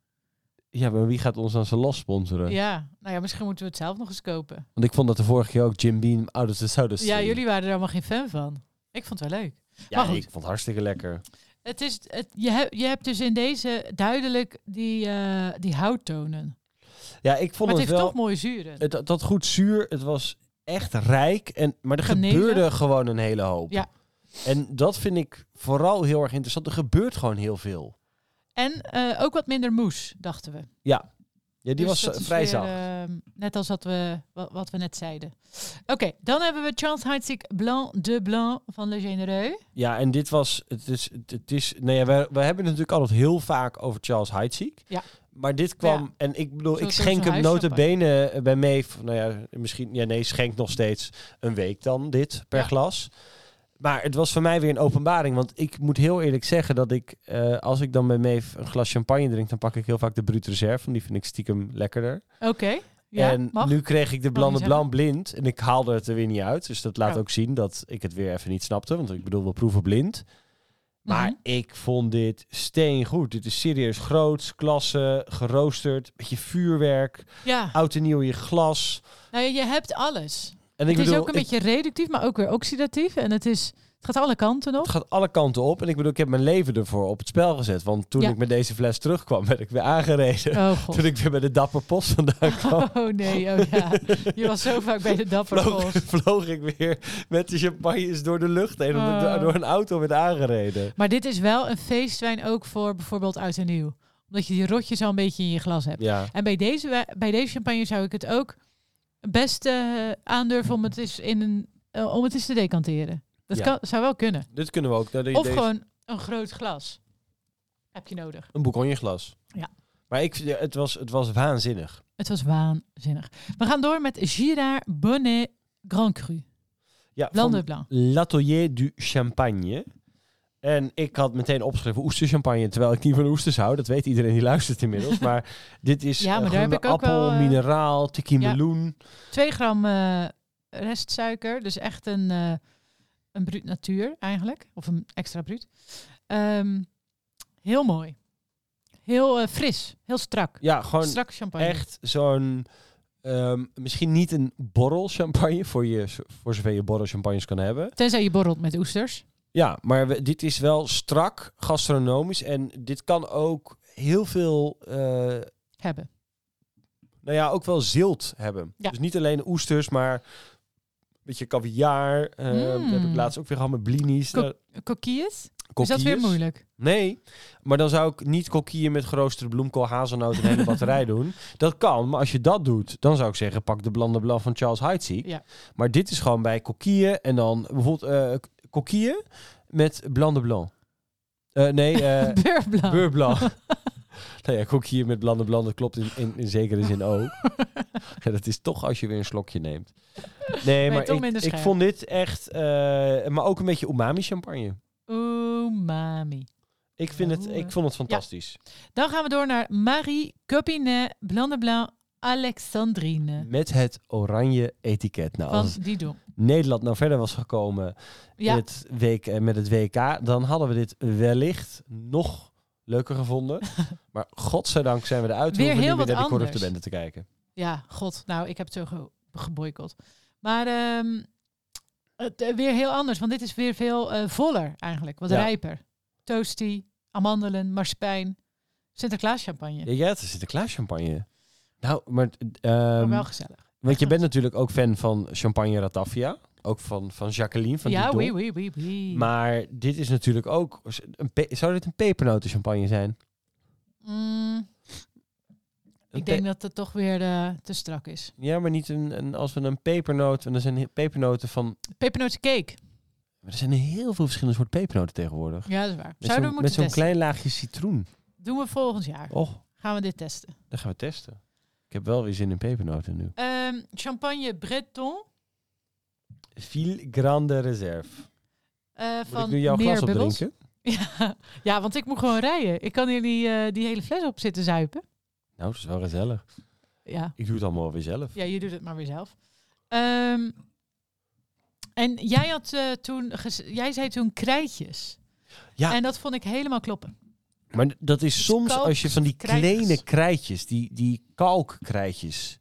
A: ja, maar wie gaat ons dan salos sponsoren?
B: Ja, nou ja, misschien moeten we het zelf nog eens kopen.
A: Want ik vond dat de vorige keer ook Jim Beam out of the soda
B: Ja,
A: Stream.
B: jullie waren er allemaal geen fan van. Ik vond het wel leuk.
A: Ja,
B: Maar goed.
A: ik vond het hartstikke lekker.
B: Het is, het, je, hebt je hebt dus in deze duidelijk die, eh, die houttonen.
A: Ja, ik vond het,
B: Maar het heeft
A: wel...
B: toch mooie zuren.
A: Het, het had goed zuur. Het was echt rijk. En, maar er
B: Genezig.
A: gebeurde gewoon een hele hoop.
B: Ja.
A: En dat vind ik vooral heel erg interessant. Er gebeurt gewoon heel veel.
B: En eh, ook wat minder moes, dachten we.
A: Ja, die
B: Dus
A: was
B: dat
A: eh,
B: is
A: vrij
B: weer,
A: zacht.
B: ehm, net als wat we, wat, wat we net zeiden. Oké, dan hebben we Charles Heidsieck Blanc de Blanc van Le Généreux.
A: Ja, en dit was... Het is, het, het is, nou ja, we, we hebben het natuurlijk altijd heel vaak over Charles Heidsieck.
B: Ja.
A: Maar dit kwam...
B: Ja.
A: En ik bedoel,
B: Zo'n
A: ik
B: soort
A: schenk
B: van
A: hem
B: huischampagne.
A: notabene eh, bij mee... van, Nou ja, misschien... Ja, nee, schenk nog steeds een week dan dit per
B: Ja.
A: glas. Maar het was voor mij weer een openbaring. Want ik moet heel eerlijk zeggen dat ik... eh, als ik dan bij Meef een glas champagne drink... dan pak ik heel vaak de Brut Reserve. Want die vind ik stiekem lekkerder.
B: Oké, ja,
A: en
B: mag.
A: nu kreeg ik de Blanc de
B: niet zeggen.
A: Blanc blind. En ik haalde het er weer niet uit. Dus dat laat
B: Oh.
A: ook zien dat ik het weer even niet snapte. Want ik bedoel, we proeven blind. Maar
B: Mhm.
A: ik vond dit steengoed. Dit is serieus groots, klasse, geroosterd. Beetje vuurwerk,
B: Ja,
A: oud en nieuw in je glas.
B: nou, ja, je hebt alles.
A: En
B: het
A: ik bedoel,
B: is ook een
A: ik-
B: beetje reductief, maar ook weer oxidatief. En het, is, het gaat alle kanten op.
A: [laughs] het gaat alle kanten op. En ik bedoel, ik heb mijn leven ervoor op het spel gezet. Want toen
B: Ja.
A: ik met deze fles terugkwam, werd ik weer aangereden.
B: Oh
A: [laughs]
B: god.
A: Toen ik weer bij de Dapper Post
B: [laughs]
A: vandaan kwam,
B: Oh nee, oh ja. Je
A: [laughs]
B: was zo vaak bij de dapper
A: vloog,
B: Bos.
A: vloog ik weer met de champagnes door de lucht heen. Omdat ik
B: Oh.
A: do- door een auto werd aangereden.
B: Maar dit is wel een feestwijn ook voor bijvoorbeeld oud en nieuw. Omdat je die rotjes al een beetje in je glas hebt.
A: Ja.
B: En bij deze, wij- bij deze champagne zou ik het ook best eh, aandurven om het eens, in een, eh, om het eens te decanteren. Dat
A: Ja.
B: kan, zou wel kunnen.
A: Dit kunnen we ook. Nou, de-
B: Of
A: deze-
B: gewoon een groot glas. Heb je nodig.
A: Een bourgogneglas.
B: Ja.
A: Maar ik, ja, het, was, het was waanzinnig.
B: Het was waanzinnig. We gaan door met Girard Bonnet Grand Cru.
A: Ja,
B: Blanc
A: van
B: de Blanc.
A: L'Atelier du Champagne. En ik had meteen opgeschreven oesterchampagne, terwijl ik niet van oesters hou. Dat weet iedereen die luistert inmiddels.
B: [laughs]
A: Maar dit is
B: Ja, maar
A: eh,
B: daar heb
A: groene
B: ik ook
A: appel,
B: wel, eh,
A: mineraal, tikkie
B: ja.
A: meloen.
B: 2 gram eh, restsuiker, dus echt een, eh, een bruut natuur eigenlijk, of een extra bruut. Ehm, heel mooi. Heel eh, fris, heel strak.
A: Ja, gewoon
B: strak champagne.
A: echt zo'n... ehm, misschien niet een borrel champagne, voor, je, voor zover je borrel champagnes kan hebben.
B: Tenzij je borrelt met oesters.
A: Ja, maar we- dit is wel strak gastronomisch. En dit kan ook heel veel, eh,
B: Hebben.
A: nou ja, ook wel zilt hebben.
B: Ja.
A: Dus niet alleen oesters, maar een beetje kaviaar. eh
B: Mm.
A: Heb ik laatst ook weer gehad met blinis.
B: Ko-
A: eh,
B: Kokkies? Is Dus dat weer
A: kokkies.
B: moeilijk?
A: Nee, maar dan zou ik niet kokieën met geroosterde bloemkool, hazelnoot en hele
B: [laughs]
A: batterij doen. Dat kan, maar als je dat doet, dan zou ik zeggen pak de Blanc de Blanc van Charles Heidsieck.
B: Ja.
A: Maar dit is gewoon bij kokieën en dan bijvoorbeeld eh kokieën met Blanc de Blanc. Eh,
B: [laughs]
A: nee, eh
B: Beurre Blanc.
A: Beurre
B: [laughs]
A: Blanc. nou ja, kokieën met Blanc de Blanc, dat klopt in, in, in zekere zin ook. ja, dat is toch als je weer een slokje neemt. Nee,
B: je
A: maar
B: toch
A: ik,
B: minder
A: ik
B: scherp.
A: vond dit echt, eh, maar ook een beetje umami champagne.
B: Umami.
A: Ik, vind het,
B: Oeh.
A: ik vond het fantastisch.
B: Dan gaan we door naar Marie Copinet Blanc de Blanc Alexandrine.
A: Met het oranje etiket. Nou,
B: Van
A: als
B: Didon.
A: Nederland nou verder was gekomen in
B: Ja,
A: het week, eh, met het WK, dan hadden we dit wellicht nog leuker
B: [laughs]
A: gevonden. maar godzijdank zijn we eruit. We
B: Weer
A: hoeven
B: heel
A: niet meer
B: wat
A: naar die corrupte
B: anders.
A: bende te kijken.
B: ja, god. Nou, ik heb het zo ge geboycott. Maar ehm, het, eh, weer heel anders, want dit is weer veel eh, voller eigenlijk. Wat
A: Ja.
B: rijper. Toasty, amandelen, marsepein, Sinterklaas champagne.
A: Ja, ja, het is Sinterklaas champagne. Nou, maar...
B: Maar
A: ehm,
B: wel gezellig.
A: want je bent natuurlijk ook fan van Champagne Ratafia. Ook van, van Jacqueline, van
B: Ja,
A: die
B: oui, oui, oui, oui.
A: Maar dit is natuurlijk ook... Een pe- zou dit een pepernoten champagne zijn?
B: Mm,
A: Een
B: ik denk dat het toch weer eh, te strak is.
A: Ja, maar niet een, een, als we een pepernoot... En er zijn he- pepernoten van...
B: Pepernotencake.
A: Maar er zijn heel veel verschillende soorten pepernoten tegenwoordig.
B: Ja, dat is waar.
A: Met zo'n
B: Zouden we
A: met
B: moeten
A: zo'n
B: testen?
A: klein laagje citroen.
B: Doen we volgend jaar.
A: Och,
B: Gaan we dit testen.
A: dat gaan we testen. Ik heb wel weer zin in pepernoten nu.
B: Ehm, champagne Breton
A: Viel Grande Reserve.
B: eh,
A: Moet ik
B: van
A: nu jouw
B: Meer
A: glas
B: Bubbels.
A: opdrinken?
B: Ja, ja, want ik moet gewoon rijden. Ik kan hier die, eh, die hele fles op zitten zuipen.
A: Nou, dat is wel gezellig.
B: Ja,
A: Ik doe het allemaal weer zelf.
B: ja je doet het maar weer zelf. Ehm, en jij, had, eh, toen gez- jij zei toen krijtjes.
A: Ja.
B: En dat vond ik helemaal kloppen.
A: Maar dat is
B: is
A: soms
B: Dus kalk,
A: als je van die
B: krijtjes.
A: kleine krijtjes, die, die kalkkrijtjes.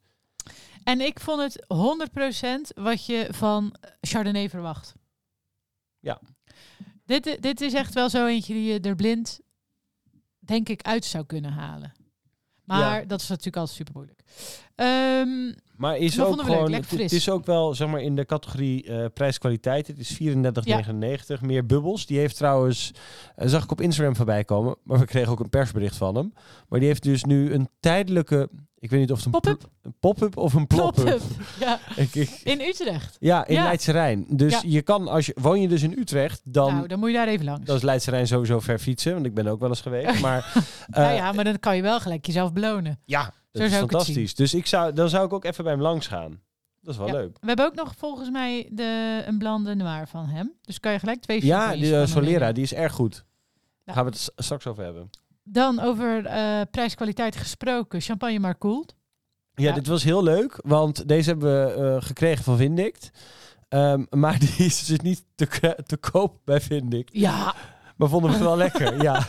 B: En ik vond het 100% wat je van Chardonnay verwacht.
A: Ja.
B: Dit, i- dit is echt wel zo eentje die je er blind, denk ik, uit zou kunnen halen. Maar dat is natuurlijk altijd super moeilijk. Ehm,
A: Maar is
B: Dat
A: ook
B: vonden we leuk,
A: gewoon,
B: lekker
A: het, het
B: fris.
A: is ook wel zeg maar in de categorie eh, prijskwaliteit. Het is 34,99. Meer bubbels. Die heeft trouwens, eh, zag ik op Instagram voorbij komen, maar we kregen ook een persbericht van hem. Maar die heeft dus nu een tijdelijke, ik weet niet of het een
B: Pop-up?
A: pl- een pop-up of een plop-up.
B: [laughs] Plop-up. Ja,
A: [laughs] Ik- ik-
B: in Utrecht.
A: ja, in
B: Ja.
A: Leidse Rijn. Dus
B: Ja.
A: je kan, als je, woon je dus in Utrecht, dan,
B: nou, dan moet je daar even langs.
A: dan is Leidse Rijn sowieso ver fietsen, want ik ben er ook wel eens
B: [laughs]
A: geweest. Maar
B: nou
A: eh,
B: ja, maar dan kan je wel gelijk jezelf belonen.
A: Ja, dat
B: zou ik
A: is
B: het
A: fantastisch. Dus ik zou, dan zou ik ook even bij hem langs gaan. Dat is wel
B: Ja.
A: leuk.
B: We hebben ook nog volgens mij de, een blande noir van hem. Dus kan je gelijk twee
A: Ja,
B: champagnes
A: die eh,
B: van hem
A: Solera,
B: meenemen.
A: die is erg goed.
B: Ja.
A: Daar gaan we het s- straks over hebben.
B: Dan over eh prijskwaliteit gesproken. Champagne maar koelt.
A: Ja,
B: Ja.
A: dit was heel leuk, want deze hebben we eh, gekregen van Vindict. Ehm, maar [laughs] die is dus niet te, k- te koop bij Vindict.
B: Ja,
A: Maar vonden we
B: [laughs]
A: het wel lekker, ja.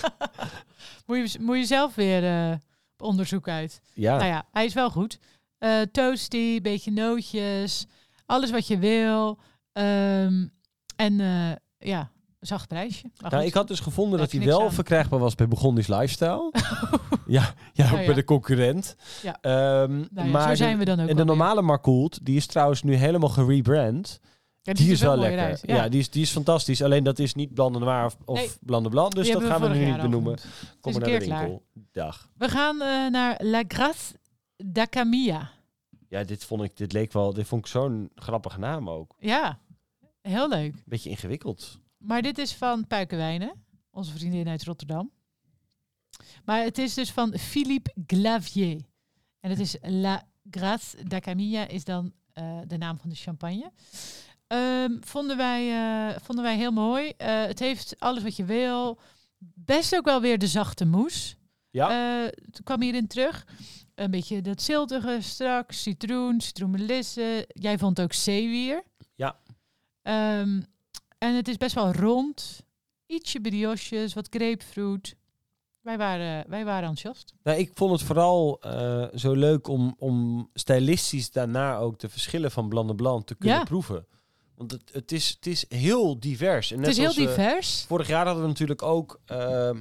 B: moet je, moet je zelf weer eh, op onderzoek uit.
A: Ja,
B: Nou ja, hij is wel goed. Eh, toasty, beetje nootjes, alles wat je wil. Ehm, en eh, ja, zacht prijsje. Maar
A: nou,
B: goed.
A: ik had dus gevonden
B: Daar
A: dat
B: heb
A: hij
B: je niks
A: wel
B: aan.
A: verkrijgbaar was bij Begondis
B: [laughs]
A: Lifestyle. ja, ja, ook
B: Nou Ja, ja.
A: bij de concurrent.
B: Ja.
A: Ehm,
B: Nou ja,
A: maar
B: zo
A: de-
B: zijn we dan ook.
A: en de
B: alweer.
A: normale Marcoult, die is trouwens nu helemaal gerebrand.
B: Ja,
A: Die,
B: ziet
A: is
B: er
A: wel
B: mooi
A: lekker.
B: uit,
A: ja, dus die, is, die is fantastisch. Alleen dat is niet Blanc de Noir of, of
B: Nee.
A: Blanc de Blanc. Dus
B: Die
A: dat
B: hebben we
A: gaan we
B: vorig
A: nu
B: jaar
A: niet
B: al
A: benoemen.
B: genoemd.
A: Kom
B: is
A: maar
B: een
A: naar de
B: keer klaar.
A: winkel. Dag.
B: We gaan eh, naar La Grasse da Camilla.
A: Ja, dit vond ik, dit leek wel, dit vond ik zo'n grappige naam ook.
B: Ja, heel leuk.
A: Beetje ingewikkeld.
B: Maar dit is van Puikenwijnen, onze vriendin uit Rotterdam. Maar het is dus van Philippe Glavier. En het is La Grâce da Camilla is dan eh, eh, de naam van de champagne. Ehm, vonden, wij, eh, vonden wij heel mooi. Eh, het heeft alles wat je wil. Best ook wel weer de zachte moes.
A: Ja.
B: Eh, het kwam hierin terug. Een beetje dat ziltige straks, citroen, citroenmelissen. Jij vond ook zeewier.
A: Ja.
B: Ehm, en het is best wel rond. Ietsje brioches, wat grapefruit. Wij waren, wij waren enthousiast.
A: Nou, ik vond het vooral eh, zo leuk om, om stylistisch daarna ook de verschillen van Blanc de Blanc te kunnen
B: Ja.
A: proeven. Want het, het, is, het is heel divers. En net
B: het is
A: zoals eh,
B: heel
A: we-
B: divers.
A: vorig jaar hadden we natuurlijk ook ehm,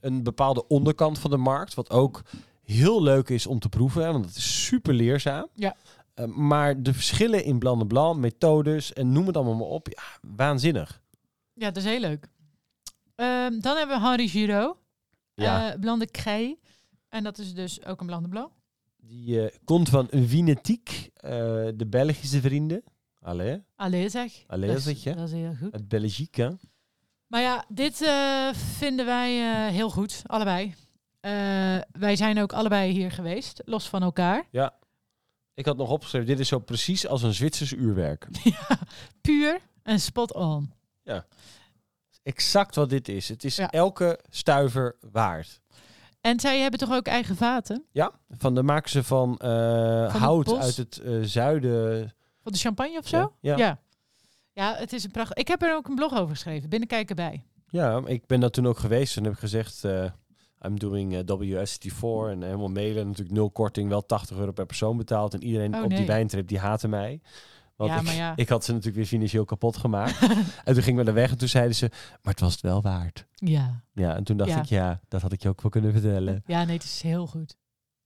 A: een bepaalde onderkant van de markt. Wat ook heel leuk is om te proeven, hè, want het is super leerzaam.
B: Ja.
A: Eh, maar de verschillen in Blanc de Blanc, methodes en noem het allemaal maar op. Ja, waanzinnig.
B: Ja, dat is heel leuk. Ehm, dan hebben we Henri Giraud.
A: Ja.
B: eh, Blanc de Crey. En dat is dus ook een Blanc de Blanc.
A: Die eh, komt van Vinetiek, eh de Belgische vrienden. Allee,
B: Allee zeg.
A: Allee,
B: Dat is-
A: zeg je.
B: Dat is heel goed.
A: uit Belgique, hè?
B: Maar ja, dit eh, vinden wij eh, heel goed, allebei. Eh, wij zijn ook allebei hier geweest, los van elkaar.
A: Ik had nog opgeschreven, dit is zo precies als een Zwitsers uurwerk.
B: Puur en spot on.
A: Exact wat dit is. Het is
B: Ja.
A: elke stuiver waard.
B: En zij hebben toch ook eigen vaten?
A: Ja, van de maken ze van, eh,
B: het
A: hout
B: bos?
A: uit het eh, zuiden.
B: Van de champagne of zo?
A: Ja, ja.
B: ja. Ja, het is een prachtig... Ik heb er ook een blog over geschreven, binnenkijken bij.
A: Ja, ik ben daar toen ook geweest en heb ik gezegd... eh, I'm doing eh, WST4 en helemaal mailen. Natuurlijk nul korting, wel 80 euro per persoon betaald. En iedereen
B: Oh,
A: op die
B: nee.
A: wijntrip, die haatte mij. Want
B: Ja,
A: ik,
B: maar ja.
A: ik had ze natuurlijk weer financieel kapot
B: [laughs]
A: gemaakt. en toen gingen we naar weg en toen zeiden ze... Maar het was het wel waard.
B: Ja.
A: Ja, en toen dacht
B: Ja.
A: ik, ja, dat had ik je ook wel kunnen vertellen.
B: Ja, nee, het is heel goed.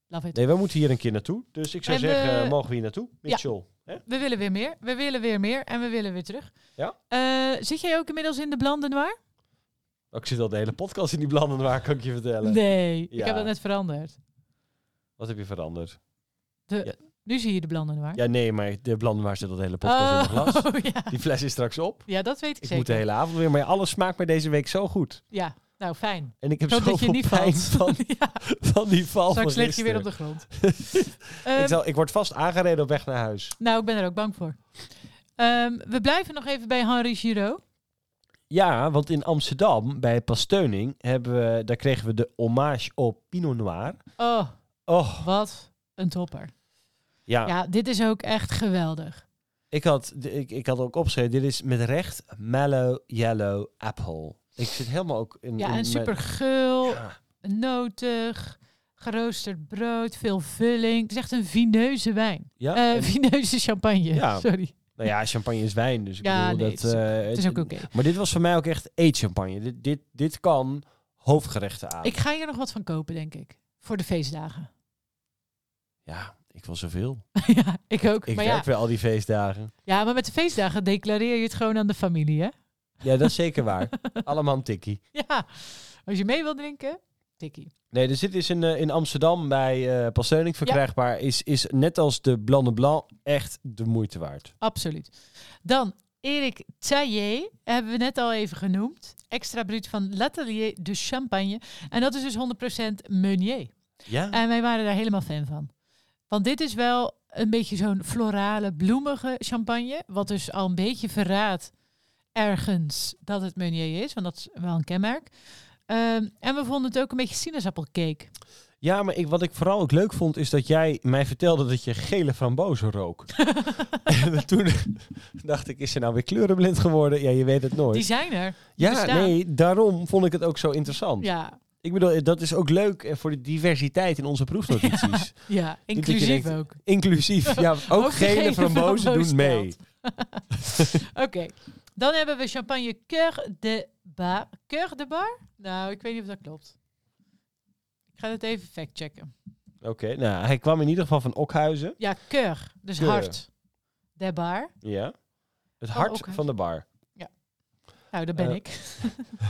B: Love it.
A: Nee, we moeten hier een keer naartoe. Dus ik zou
B: En we-
A: zeggen, eh, mogen we hier naartoe? Mitchell. hè?
B: We willen weer meer, we willen weer meer en we willen weer terug.
A: Ja.
B: Eh, zit jij ook inmiddels in de Blanc de Noir?
A: Oh, Ik zit al de hele podcast in die blanden waar, kan ik je vertellen.
B: Nee, ik
A: Ja.
B: heb dat net veranderd.
A: Wat heb je veranderd?
B: De,
A: Ja.
B: Nu zie je de Blanc de Noir.
A: Hm? Ja, nee, maar de blanden waar zit al de hele podcast in mijn glas.
B: Oh, [laughs] ja.
A: Die fles is straks op.
B: ja, dat weet
A: Ik
B: ik, zeker.
A: moet de hele avond weer, maar ja, alles smaakt mij deze week zo goed.
B: Ja, nou fijn.
A: En ik heb
B: Ik hoop dat je
A: zoveel
B: niet
A: pijn
B: valt.
A: Van,
B: [laughs] ja,
A: van die val
B: [laughs] straks
A: van
B: lig je weer op de
A: gisteren. [laughs]
B: grond.
A: ik,
B: Ehm,
A: zal, ik word vast aangereden op weg naar huis.
B: Nou, ik ben er ook bang voor. Ehm, we blijven nog even bij Henri Giraud.
A: Ja, want in Amsterdam, bij Pasteuning, hebben we, daar kregen we de hommage op Pinot Noir.
B: Oh,
A: Oh,
B: wat een topper.
A: ja.
B: Ja, dit is ook echt geweldig.
A: Ik had, d- ik, ik had ook opgeschreven, dit is met recht Mellow Yellow Apple. Ik zit helemaal ook in... in
B: Ja, en
A: mijn- Ah,
B: super gul,
A: Ja,
B: notig, geroosterd brood, veel vulling. Het is echt een vineuze wijn.
A: ja.
B: Eh
A: en-
B: vineuze champagne,
A: Ja.
B: [laughs] sorry.
A: nou ja, champagne is wijn, dus ik
B: Ja,
A: bedoel
B: nee,
A: dat...
B: het is
A: eh,
B: Het is ook oké.
A: Maar dit was voor mij ook echt eetchampagne. Dit, dit, dit kan hoofdgerechten aan.
B: Ik ga hier nog wat van kopen, denk ik. Voor de feestdagen.
A: Ja, ik wil zoveel.
B: ja, ik ook.
A: Ik
B: maar
A: werk
B: ja,
A: weer al die feestdagen.
B: Ja, maar met de feestdagen declareer je het gewoon aan de familie, hè? [laughs]
A: Ja, dat is zeker waar. Allemaal een tikkie.
B: Ja. Als je mee wil drinken, tikkie.
A: Nee, dus dit is in, eh, in Amsterdam bij eh Pasteuning verkrijgbaar. Is, is net als de Blanc de Blanc echt de moeite waard.
B: Absoluut. Dan Erik Taillé, hebben we net al even genoemd. Extra bruut van L'Atelier de Champagne. En dat is dus 100% Meunier.
A: Ja.
B: En wij waren daar helemaal fan van. Want dit is wel een beetje zo'n florale, bloemige champagne. Wat dus al een beetje verraadt ergens dat het Meunier is. Want dat is wel een kenmerk. Ehm, en we vonden het ook een beetje sinaasappelcake.
A: Ja, maar ik, wat ik vooral ook leuk vond, is dat jij mij vertelde dat je gele frambozen
B: [laughs]
A: rook. [laughs] en toen [laughs] dacht ik, is ze nou weer kleurenblind geworden? Ja, je weet het nooit.
B: Die zijn er.
A: ja,
B: bestaan.
A: nee, daarom vond ik het ook zo interessant.
B: Ja,
A: Ik bedoel, dat is ook leuk eh, voor de diversiteit in onze proefnotities.
B: ja
A: dat je
B: inclusief
A: denkt,
B: ook.
A: [laughs] Inclusief, ja, ook,
B: de
A: gele,
B: [laughs] gele
A: frambozen
B: framboos
A: doen mee.
B: telt. Oké, dan hebben we champagne Cœur de Bar. Cœur de Bar? Nou, ik weet niet of dat klopt. Ik ga dat even factchecken.
A: Oké, nou, hij kwam in ieder geval van Okhuizen.
B: Ja, Cœur, dus
A: Keur.
B: hart. De Bar.
A: Ja. Het
B: Van
A: hart
B: Oh, Okhuizen.
A: van de bar. [laughs]
B: Nou, daar ben
A: Eh,
B: ik.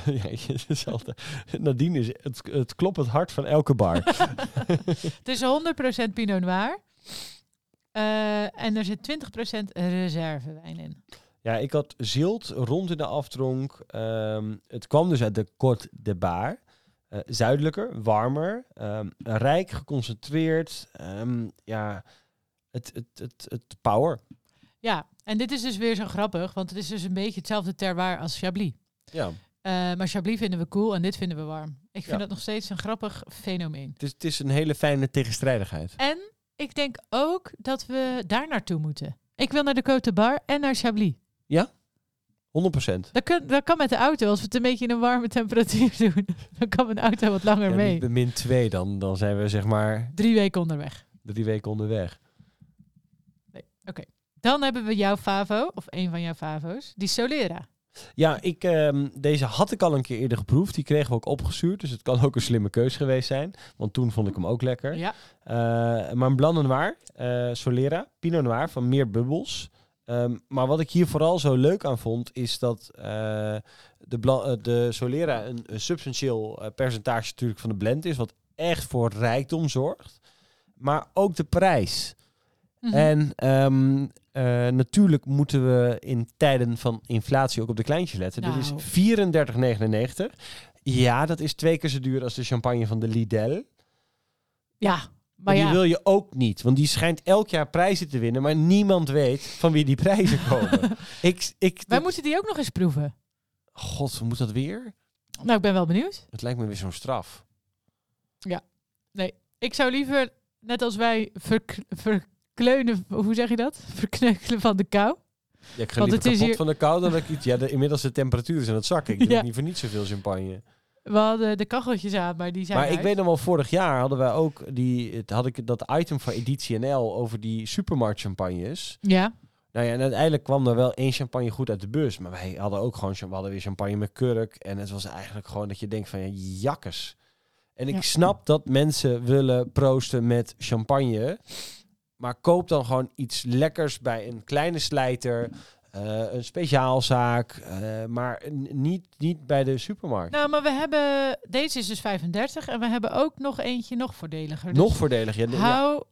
A: ja, het is altijd- Nadien is het, het klopt het hart van elke
B: [laughs]
A: bar.
B: Het is 100% Pinot Noir. Eh, en er zit 20% reservewijn in.
A: Ja, ik had zilt rond in de aftronk. Ehm, het kwam dus uit de Côte de Bar. Eh, zuidelijker, warmer, ehm, rijk, geconcentreerd. Ehm, ja, het, het, het, het power.
B: Ja, en dit is dus weer zo grappig, want het is dus een beetje hetzelfde terwaar als Chablis.
A: Ja,
B: Eh, maar Chablis vinden we cool en dit vinden we warm. Ik vind
A: Ja.
B: dat nog steeds een grappig fenomeen.
A: het is, het is een hele fijne tegenstrijdigheid.
B: Ik denk ook dat we daar naartoe moeten. Ik wil naar de Côte Bar en naar Chablis.
A: 100%.
B: Dat kan, dat kan met de auto, als we het een beetje in een warme temperatuur [laughs] doen. Dan kan mijn auto wat langer
A: Ja,
B: mee.
A: niet bij min 2, dan, dan zijn we zeg maar
B: Drie weken onderweg.
A: drie weken onderweg.
B: Dan hebben we jouw favo, of een van jouw favo's, die Solera.
A: Ja, ik, ehm, deze had ik al een keer eerder geproefd. Die kregen we ook opgestuurd. Dus het kan ook een slimme keus geweest zijn. Want toen vond ik hem ook lekker.
B: Ja.
A: Eh, maar een Blanc de Noir, eh, Solera, Pinot Noir van meer bubbels. Ehm, maar wat ik hier vooral zo leuk aan vond, is dat eh, de, Blan- eh, de Solera een, een substantieel eh, percentage natuurlijk van de blend is, wat echt voor rijkdom zorgt. Maar ook de prijs.
B: Mhm.
A: En ehm, eh, natuurlijk moeten we in tijden van inflatie ook op de kleintjes letten.
B: Nou.
A: Dit is 34,99. Ja, dat is twee keer zo duur als de champagne van de Lidl.
B: Ja, maar
A: Maar die
B: ja.
A: wil je ook niet, want die schijnt elk jaar prijzen te winnen, maar niemand weet van wie die
B: [laughs]
A: prijzen komen. ik, ik,
B: Wij moeten die ook nog eens proeven.
A: God, moet dat weer?
B: Nou, ik ben wel benieuwd.
A: Het lijkt me weer zo'n straf.
B: Ik zou liever, net als wij, verk- verkleunen, hoe zeg je dat? Verkneukelen van de kou.
A: Ja, ik ga liever
B: Want het is
A: kapot
B: hier-
A: van de kou dan dat ik iets... Ja, de, inmiddels de temperatuur is aan het
B: [laughs]
A: zakken. Ik drink
B: Ja.
A: niet voor niet zoveel champagne.
B: We hadden de kacheltjes aan, maar die zijn
A: maar ik
B: uit.
A: weet nog wel, vorig jaar hadden wij ook die, het, had ik dat item van Editie NL over die supermarkt champagnes.
B: Ja,
A: Nou ja, en uiteindelijk kwam er wel één champagne goed uit de bus. Maar wij hadden ook gewoon we hadden weer champagne met kurk. En het was eigenlijk gewoon dat je denkt van ja, jakkers. En ik
B: Ja.
A: snap dat mensen willen proosten met champagne. Maar koop dan gewoon iets lekkers bij een kleine slijter. eh, een speciaalzaak. eh, maar n- niet, niet bij de supermarkt.
B: nou, maar we hebben... Deze is dus 35 en we hebben ook nog eentje nog voordeliger. Dus
A: Nog voordelig. Ja, de- ja,
B: hou...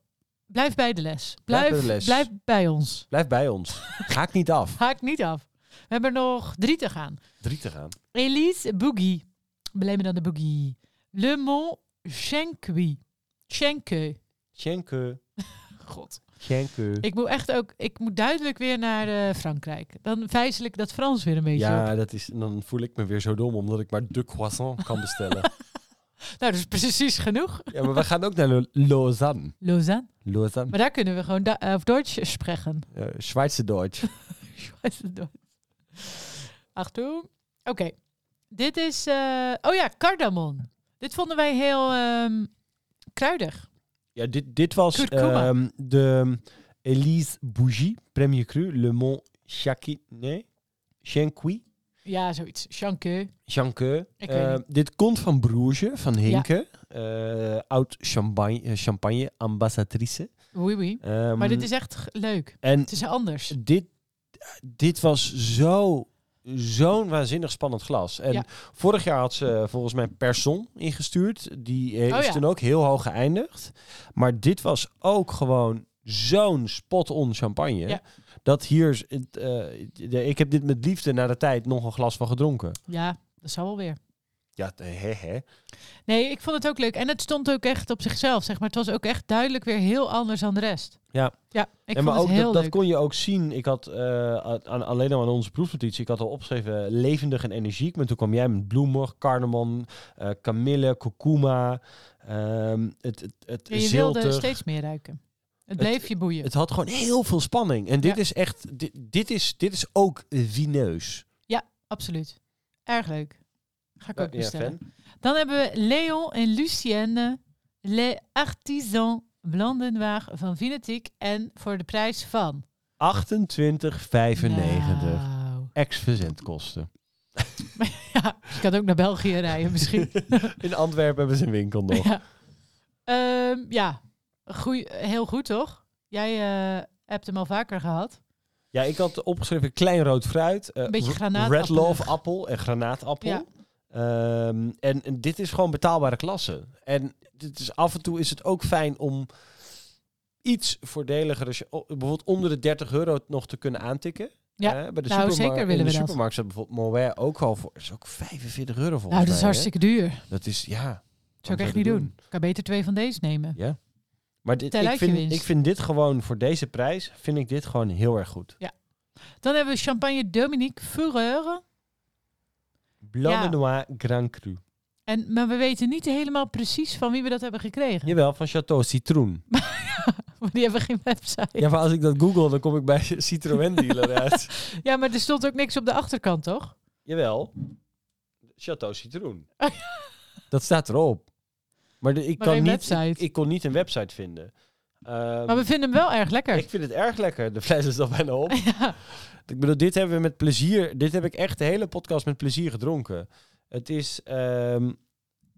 B: Blijf bij de les.
A: Blijf
B: Blijf,
A: bij
B: blijf,
A: de les.
B: bij ons.
A: blijf bij ons. Ga ik niet af.
B: Haak niet af. We hebben nog drie te gaan.
A: Drie te gaan.
B: Elise Boogie. Blijf me dan de Boogie. Le Mont Chenkui. Chenkeu.
A: Schenke.
B: God.
A: Schenke.
B: Ik moet echt ook... Ik moet duidelijk weer naar eh, Frankrijk. Dan vijzel ik dat Frans weer een beetje op.
A: Ja, dat is, dan voel ik me weer zo dom omdat ik maar de croissant kan bestellen.
B: Nou, dat is precies genoeg.
A: [laughs] Ja, maar we gaan ook naar Lo- Lausanne.
B: Lausanne.
A: Lausanne.
B: Maar daar kunnen we gewoon da- eh, op Duits spreken.
A: Eh Schweizer Deutsch.
B: Schweizer Duits. Achtung. Oké. Dit is... eh, oh ja, cardamon. Dit vonden wij heel ehm, kruidig.
A: Ja, dit, dit was
B: Kurkuma.
A: ehm, de Elise Bougie, Premier Cru, Le Mont Chaki, nee, Chanqui,
B: Ja, zoiets. Chankeu.
A: Chanque.
B: Ik weet
A: Eh, dit komt van Bruges, van Hinke, eh, oud champagne, eh, champagne ambassadrice.
B: Oui, oui.
A: Ehm,
B: Maar dit is echt g- leuk.
A: en
B: Het is anders.
A: dit, dit was zo, zo'n waanzinnig spannend glas. En
B: Ja.
A: vorig jaar had ze eh, volgens mij Person ingestuurd. Die eh,
B: Oh
A: is
B: ja.
A: toen ook heel hoog geëindigd. Maar dit was ook gewoon zo'n spot-on champagne.
B: Ja.
A: Dat hier, is het, eh, de- ik heb dit met liefde na de tijd nog een glas van gedronken.
B: Ja, dat zal wel weer.
A: Ja, hè, hè.
B: Nee, ik vond het ook leuk. En het stond ook echt op zichzelf, zeg maar. Het was ook echt duidelijk weer heel anders dan de rest.
A: Ja.
B: Ja, ik
A: en
B: vond
A: maar
B: het
A: ook
B: heel
A: dat,
B: leuk.
A: dat kon je ook zien. Ik had eh, a- aan, alleen al aan onze proefnotitie, ik had al opgeschreven eh, levendig en energiek. Maar toen kwam jij met bloemen, cardamom, eh kamille, kurkuma, ehm, het, het, het
B: Ja, je wilde
A: ziltig.
B: steeds meer ruiken. Het
A: Het-
B: bleef je boeien.
A: Het had gewoon heel veel spanning. En dit
B: Ja.
A: is echt, dit, dit, is, dit is ook eh, vineus.
B: Absoluut. Erg leuk. Ga ik ook
A: Ja,
B: bestellen.
A: fan.
B: Dan hebben we Léon en Lucienne, les artisans blanc de noir van Vinetik. En voor de prijs van...
A: 28,95.
B: Nou.
A: Ex-verzendkosten.
B: Ja, je kan ook naar België
A: [laughs]
B: rijden misschien.
A: In Antwerpen hebben ze een winkel nog.
B: Ja, Ehm, ja. Goeie, heel goed toch? Jij eh, hebt hem al vaker gehad.
A: Ja, ik had opgeschreven klein rood fruit. eh,
B: Een beetje
A: r-
B: granaatappel.
A: Red love appel en granaatappel.
B: Ja.
A: Ehm, en, en dit is gewoon betaalbare klasse. En dit is, af en toe is het ook fijn om iets voordeliger, als je, o- bijvoorbeeld onder de 30 euro nog te kunnen aantikken.
B: Ja,
A: Eh, bij de
B: nou,
A: supermarkt-
B: zeker willen
A: in
B: we
A: de
B: dat.
A: supermarkt staat bijvoorbeeld Moët ook al voor. is ook 45 euro volgens
B: nou, dat is
A: mij, hè?
B: hartstikke duur.
A: Dat is, ja.
B: Zou
A: waarom
B: ik echt
A: je
B: niet
A: dat
B: doen. Ik kan beter twee van deze nemen.
A: Ja. Maar dit,
B: Tel
A: ik,
B: uit je
A: vind,
B: winst.
A: ik vind dit gewoon, voor deze prijs, vind ik dit gewoon heel erg goed.
B: Dan hebben we champagne Dominique Fureur.
A: Blanc
B: Ja.
A: de Noix Grand Cru.
B: En, maar we weten niet helemaal precies van wie we dat hebben gekregen.
A: Jawel, van Chateau Citroen.
B: [laughs] Want die hebben geen website. Ja.
A: Ja, maar als ik dat google, dan kom ik bij Citroën dealer uit.
B: maar er stond ook niks op de achterkant, toch?
A: [laughs] Jawel, Chateau Citroen.
B: Oh,
A: [laughs] dat staat erop. Maar de- ik,
B: Maar
A: kan
B: geen
A: niet,
B: website.
A: ik, ik kon niet een website vinden. Ehm,
B: maar we vinden hem wel erg lekker.
A: ik vind het erg lekker. De fles is al bijna op.
B: [laughs] ja.
A: Ik bedoel, dit hebben we met plezier. Dit heb ik echt de hele podcast met plezier gedronken. Het is, ehm,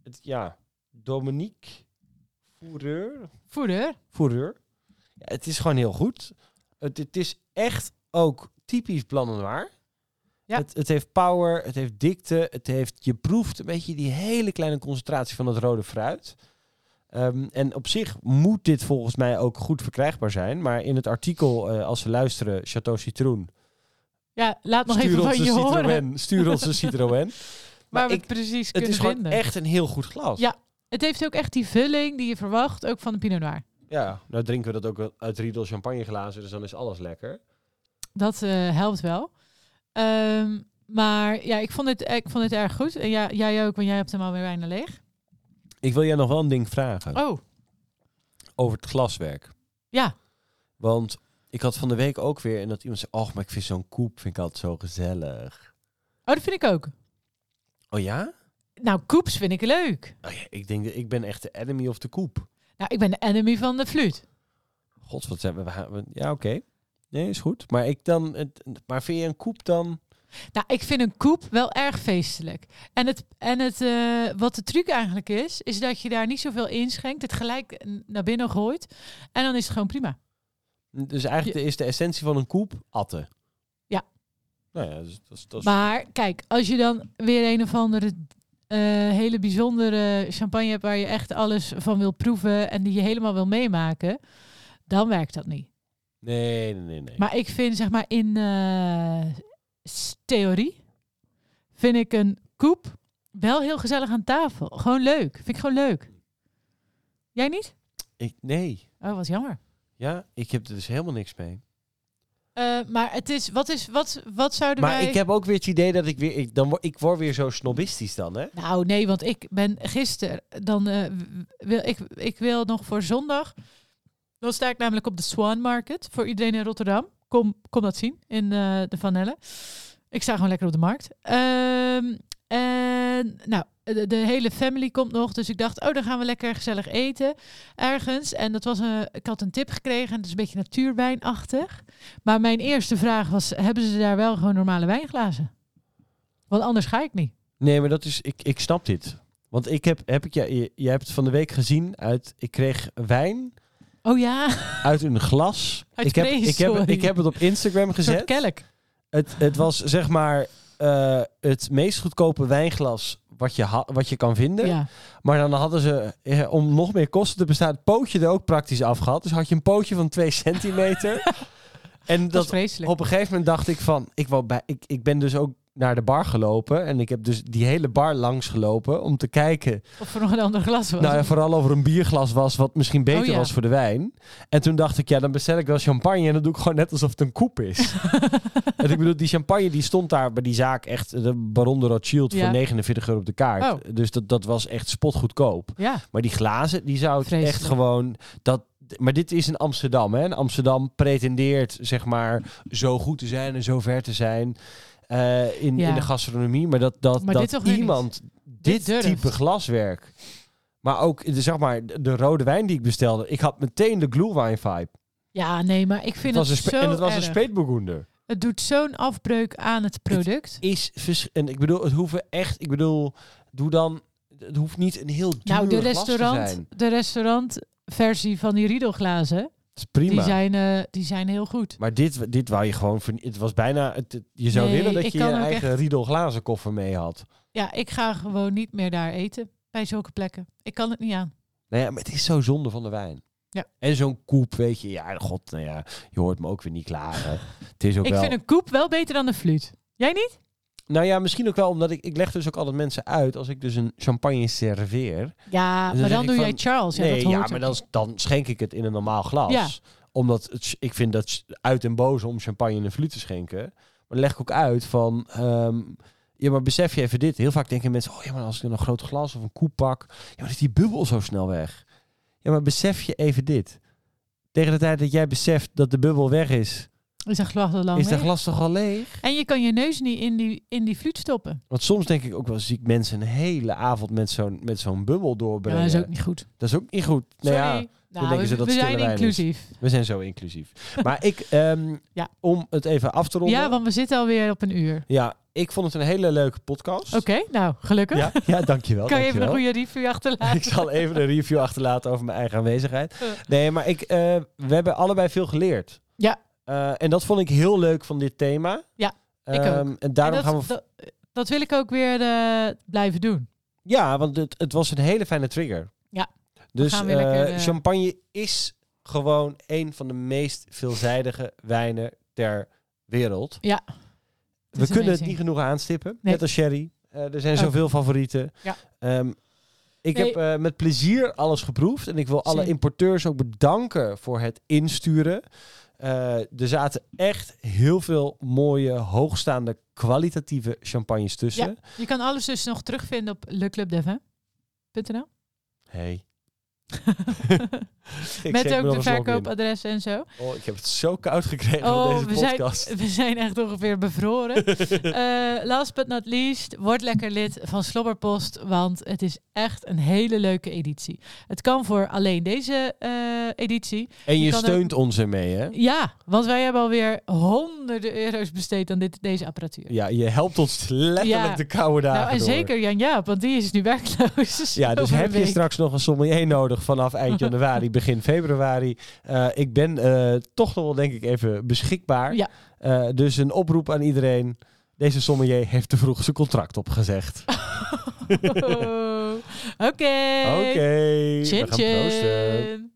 A: het, ja, Dominique Fourreur.
B: Voeder.
A: Fourreur. Ja, het is gewoon heel goed. Het, het is echt ook typisch Blanc Noir.
B: Ja.
A: Het, het heeft power, het heeft dikte, het heeft, je proeft een beetje die hele kleine concentratie van het rode fruit. Ehm, en op zich moet dit volgens mij ook goed verkrijgbaar zijn. Maar in het artikel, eh, als ze luisteren, Chateau Citroen,
B: Ja, laat nog
A: stuur
B: even
A: ons,
B: van
A: een
B: je horen.
A: Citroën, stuur
B: [laughs]
A: ons een Citroën.
B: Waar
A: Maar
B: we
A: ik,
B: het precies
A: het
B: kunnen
A: is gewoon
B: vinden.
A: echt een heel goed glas.
B: Ja. Het heeft ook echt die vulling die je verwacht, ook van de Pinot Noir.
A: Ja, nou drinken we dat ook uit Riedel champagneglazen, dus dan is alles lekker.
B: Dat eh, helpt wel. Ehm, maar ja, ik vond het, ik vond het erg goed. En ja, jij ook, want jij hebt hem alweer bijna leeg.
A: Ik wil jij nog wel een ding vragen
B: Oh,
A: over het glaswerk.
B: ja.
A: Want ik had van de week ook weer en dat iemand zei: "Och, maar ik vind zo'n koep vind ik altijd zo gezellig."
B: Oh, dat vind ik ook.
A: Oh ja?
B: Nou, koeps vind ik leuk.
A: Oh ja, ik denk dat ik ben echt de enemy of de koep.
B: Nou, ik ben de enemy van de fluit.
A: God, wat hebben we? we- Ja, oké. Nee, is goed. Maar ik dan het, maar vind je een koep dan?
B: Nou, ik vind een koep wel erg feestelijk. En, het, en het, eh, wat de truc eigenlijk is, is dat je daar niet zoveel inschenkt, het gelijk eh, naar binnen gooit. En dan is het gewoon prima.
A: Dus eigenlijk is de essentie van een koep atten.
B: Ja.
A: Nou ja, dus, dat is- dat is
B: Maar kijk, als je dan weer een of andere eh, hele bijzondere champagne hebt waar je echt alles van wil proeven en die je helemaal wil meemaken, dan werkt dat niet.
A: Nee, nee, nee, nee.
B: Maar ik vind zeg maar in eh, s- theorie, vind ik een koep wel heel gezellig aan tafel. Gewoon leuk. Vind ik gewoon leuk. Jij niet?
A: Ik, nee.
B: Oh, wat jammer.
A: Ja, ik heb er dus helemaal niks mee.
B: Eh, maar het is, wat, is, wat, wat zouden
A: Maar
B: wij...
A: ik heb ook weer het idee dat ik weer... Ik, dan, word- ik word weer zo snobistisch dan, hè?
B: Nou, nee, want ik ben gisteren dan eh, w- wil ik, ik wil nog voor zondag. Dan sta ik namelijk op de Swan Market voor iedereen in Rotterdam. Kom, kom dat zien in eh, de Van Nelle. Ik sta gewoon lekker op de markt. Ehm, en nou, de, de hele family komt nog. Dus ik dacht, oh, dan gaan we lekker gezellig eten ergens. En dat was een, ik had een tip gekregen. Het is een beetje natuurwijnachtig. Maar mijn eerste vraag was: hebben ze daar wel gewoon normale wijnglazen? Want anders ga ik niet.
A: Nee, maar dat is... Ik, ik snap dit. Want ik heb... heb ik, ja, je, je hebt het van de week gezien uit... Ik kreeg wijn
B: Oh ja.
A: uit een glas.
B: Uit
A: ik, heb, ik, heb,
B: prehistorie.
A: ik heb het op Instagram
B: Een soort
A: gezet.
B: kelk.
A: Het, het was zeg maar eh, het meest goedkope wijnglas wat je, ha- wat je kan vinden.
B: Ja.
A: Maar dan hadden ze, eh, om nog meer kosten te bestaan, het pootje er ook praktisch af gehad. Dus had je een pootje van 2
B: [laughs]
A: centimeter. en
B: Dat is
A: dat
B: vreselijk.
A: op een gegeven moment dacht ik van, ik, wou bij, ik, ik ben dus ook naar de bar gelopen. En ik heb dus die hele bar langs gelopen om te kijken.
B: Of er nog een ander glas was.
A: Nou ja, vooral over een bierglas was, wat misschien beter
B: Oh ja.
A: was voor de wijn. En toen dacht ik, ja, dan bestel ik wel champagne. En dan doe ik gewoon net alsof het een koep
B: [laughs]
A: is. en ik bedoel, die champagne die stond daar bij die zaak echt, de Baron de Rothschild,
B: Ja.
A: voor 49 euro op de kaart.
B: Oh.
A: Dus dat, dat was echt spotgoedkoop.
B: ja.
A: Maar die glazen, die zou het
B: Vreselijk.
A: echt gewoon. Dat, maar dit is in Amsterdam. Hè? En Amsterdam pretendeert, zeg maar, zo goed te zijn en zo ver te zijn. eh, in,
B: Ja.
A: in de gastronomie. Maar dat, dat,
B: Maar
A: dat
B: dit toch weer
A: iemand
B: Dit
A: dit,
B: durft.
A: type glaswerk. Maar ook de, zeg maar, de de rode wijn die ik bestelde. Ik had meteen de glühwein vibe.
B: ja, nee, maar ik vind
A: was
B: het,
A: een spe-
B: zo
A: en het was
B: erg.
A: een speetburgunder.
B: Het doet zo'n afbreuk aan het product.
A: Is vers- en ik bedoel, het hoeven echt. Ik bedoel, doe dan. Het hoeft niet een heel duur
B: Nou, de,
A: glas te zijn.
B: restaurant, de restaurantversie van die riedelglazen,
A: Het is prima.
B: die zijn, eh, die zijn heel goed.
A: Maar dit, dit wou je gewoon... vernie- Het was bijna... Het, het- je zou
B: Nee,
A: willen
B: ik
A: dat je je
B: kan ook
A: eigen Riedel glazen koffer mee had.
B: Ja, ik ga gewoon niet meer daar eten bij zulke plekken. Ik kan het niet aan.
A: Nou ja, maar het is zo zonde van de wijn.
B: Ja.
A: En zo'n koep, weet je. Ja, god, nou
B: [laughs]
A: ja, je hoort me ook weer niet klagen. het is ook
B: Ik
A: wel...
B: vind een koep wel beter dan een fluit. Jij niet?
A: Nou ja, misschien ook wel omdat ik, ik leg dus ook altijd mensen uit als ik dus een champagne serveer.
B: Ja,
A: Dus dan zeg
B: maar dan
A: ik
B: doe
A: van,
B: jij Charles. Ja,
A: nee,
B: dat hoort
A: ja, maar dan, dan schenk ik het in een normaal glas.
B: Ja.
A: Omdat het, ik vind dat uit en boze om champagne in een fluit te schenken. Maar dan leg ik ook uit van, ehm, ja, maar besef je even dit. Heel vaak denken mensen, oh ja, maar als ik dan een groot glas of een koep pak, ja, maar is die bubbel zo snel weg. Ja, maar besef je even dit. Tegen de tijd dat jij beseft dat de bubbel weg is,
B: Is dat glas al lang
A: is dat
B: mee?
A: glas toch al leeg?
B: En je kan je neus niet in die, in die fluit stoppen.
A: Want soms denk ik ook wel, zie ik mensen een hele avond met zo'n, met zo'n bubbel
B: Ja,
A: doorbrengen.
B: dat is ook niet goed.
A: niet goed. Nou
B: Sorry.
A: ja,
B: Nou,
A: denken ze
B: we-
A: dat
B: we
A: stille
B: zijn
A: wijn is.
B: inclusief.
A: we zijn zo inclusief. Maar ik, ehm,
B: [laughs] Ja.
A: om het even af te ronden.
B: Ja, want we zitten alweer op een uur.
A: Ja, ik vond het een hele leuke podcast.
B: Oké, nou, gelukkig.
A: Ja, ja, dankjewel.
B: [laughs] kan je even
A: dankjewel.
B: een goede review achterlaten?
A: Ik zal even een review achterlaten over mijn eigen aanwezigheid.
B: Eh.
A: Nee, maar ik, eh, we hebben allebei veel geleerd.
B: Ja.
A: Eh, en dat vond ik heel leuk van dit thema.
B: Ja, ik ook.
A: Ehm, En daarom
B: En dat,
A: gaan we...
B: dat, dat wil ik ook weer eh, blijven doen.
A: Ja, want het, het was een hele fijne trigger.
B: Ja,
A: Dus
B: gaan weer
A: eh,
B: lekker, eh,
A: champagne is gewoon een van de meest veelzijdige wijnen ter wereld.
B: Ja,
A: We
B: is
A: kunnen het
B: amazing.
A: niet genoeg aanstippen.
B: Nee.
A: Net als sherry. Eh, er zijn
B: Ook.
A: zoveel favorieten.
B: Ja.
A: Ehm, ik
B: Nee.
A: heb eh, met plezier alles geproefd. En ik wil alle
B: Zeker.
A: importeurs ook bedanken voor het insturen. Eh, er zaten echt heel veel mooie, hoogstaande, kwalitatieve champagnes tussen.
B: Je kan alles dus nog terugvinden op leclubdev.nl.
A: Hey. [laughs] Ik
B: Met
A: schenk me
B: ook
A: nog
B: de
A: een slok in.
B: verkoopadressen en zo.
A: Oh, ik heb het zo koud gekregen
B: Oh,
A: van
B: we
A: deze
B: zijn-
A: podcast.
B: [laughs] We zijn echt ongeveer
A: [laughs]
B: bevroren. Eh, last but not least, word lekker lid van Slobberpost, want het is echt een hele leuke editie. Het kan voor alleen deze eh, editie.
A: En je,
B: je kan ook-
A: steunt ons ermee, hè?
B: Ja, want wij hebben alweer honderden euro's besteed aan dit, deze apparatuur.
A: Ja, je helpt ons letterlijk
B: Ja.
A: de koude dagen
B: nou, en
A: door.
B: zeker Jan-Jaap, want die is nu werkloos.
A: Ja, dus
B: [laughs] Over een
A: heb je
B: week.
A: straks nog een sommelier nodig vanaf
B: [laughs]
A: eind januari, begin februari. Eh, ik ben eh, toch nog wel, denk ik, even beschikbaar.
B: Ja.
A: Eh, dus een oproep aan iedereen. Deze sommelier heeft te vroeg zijn contract opgezegd.
B: Oké.
A: Oké, we
B: Oh. Chin
A: gaan proosten.
B: chin.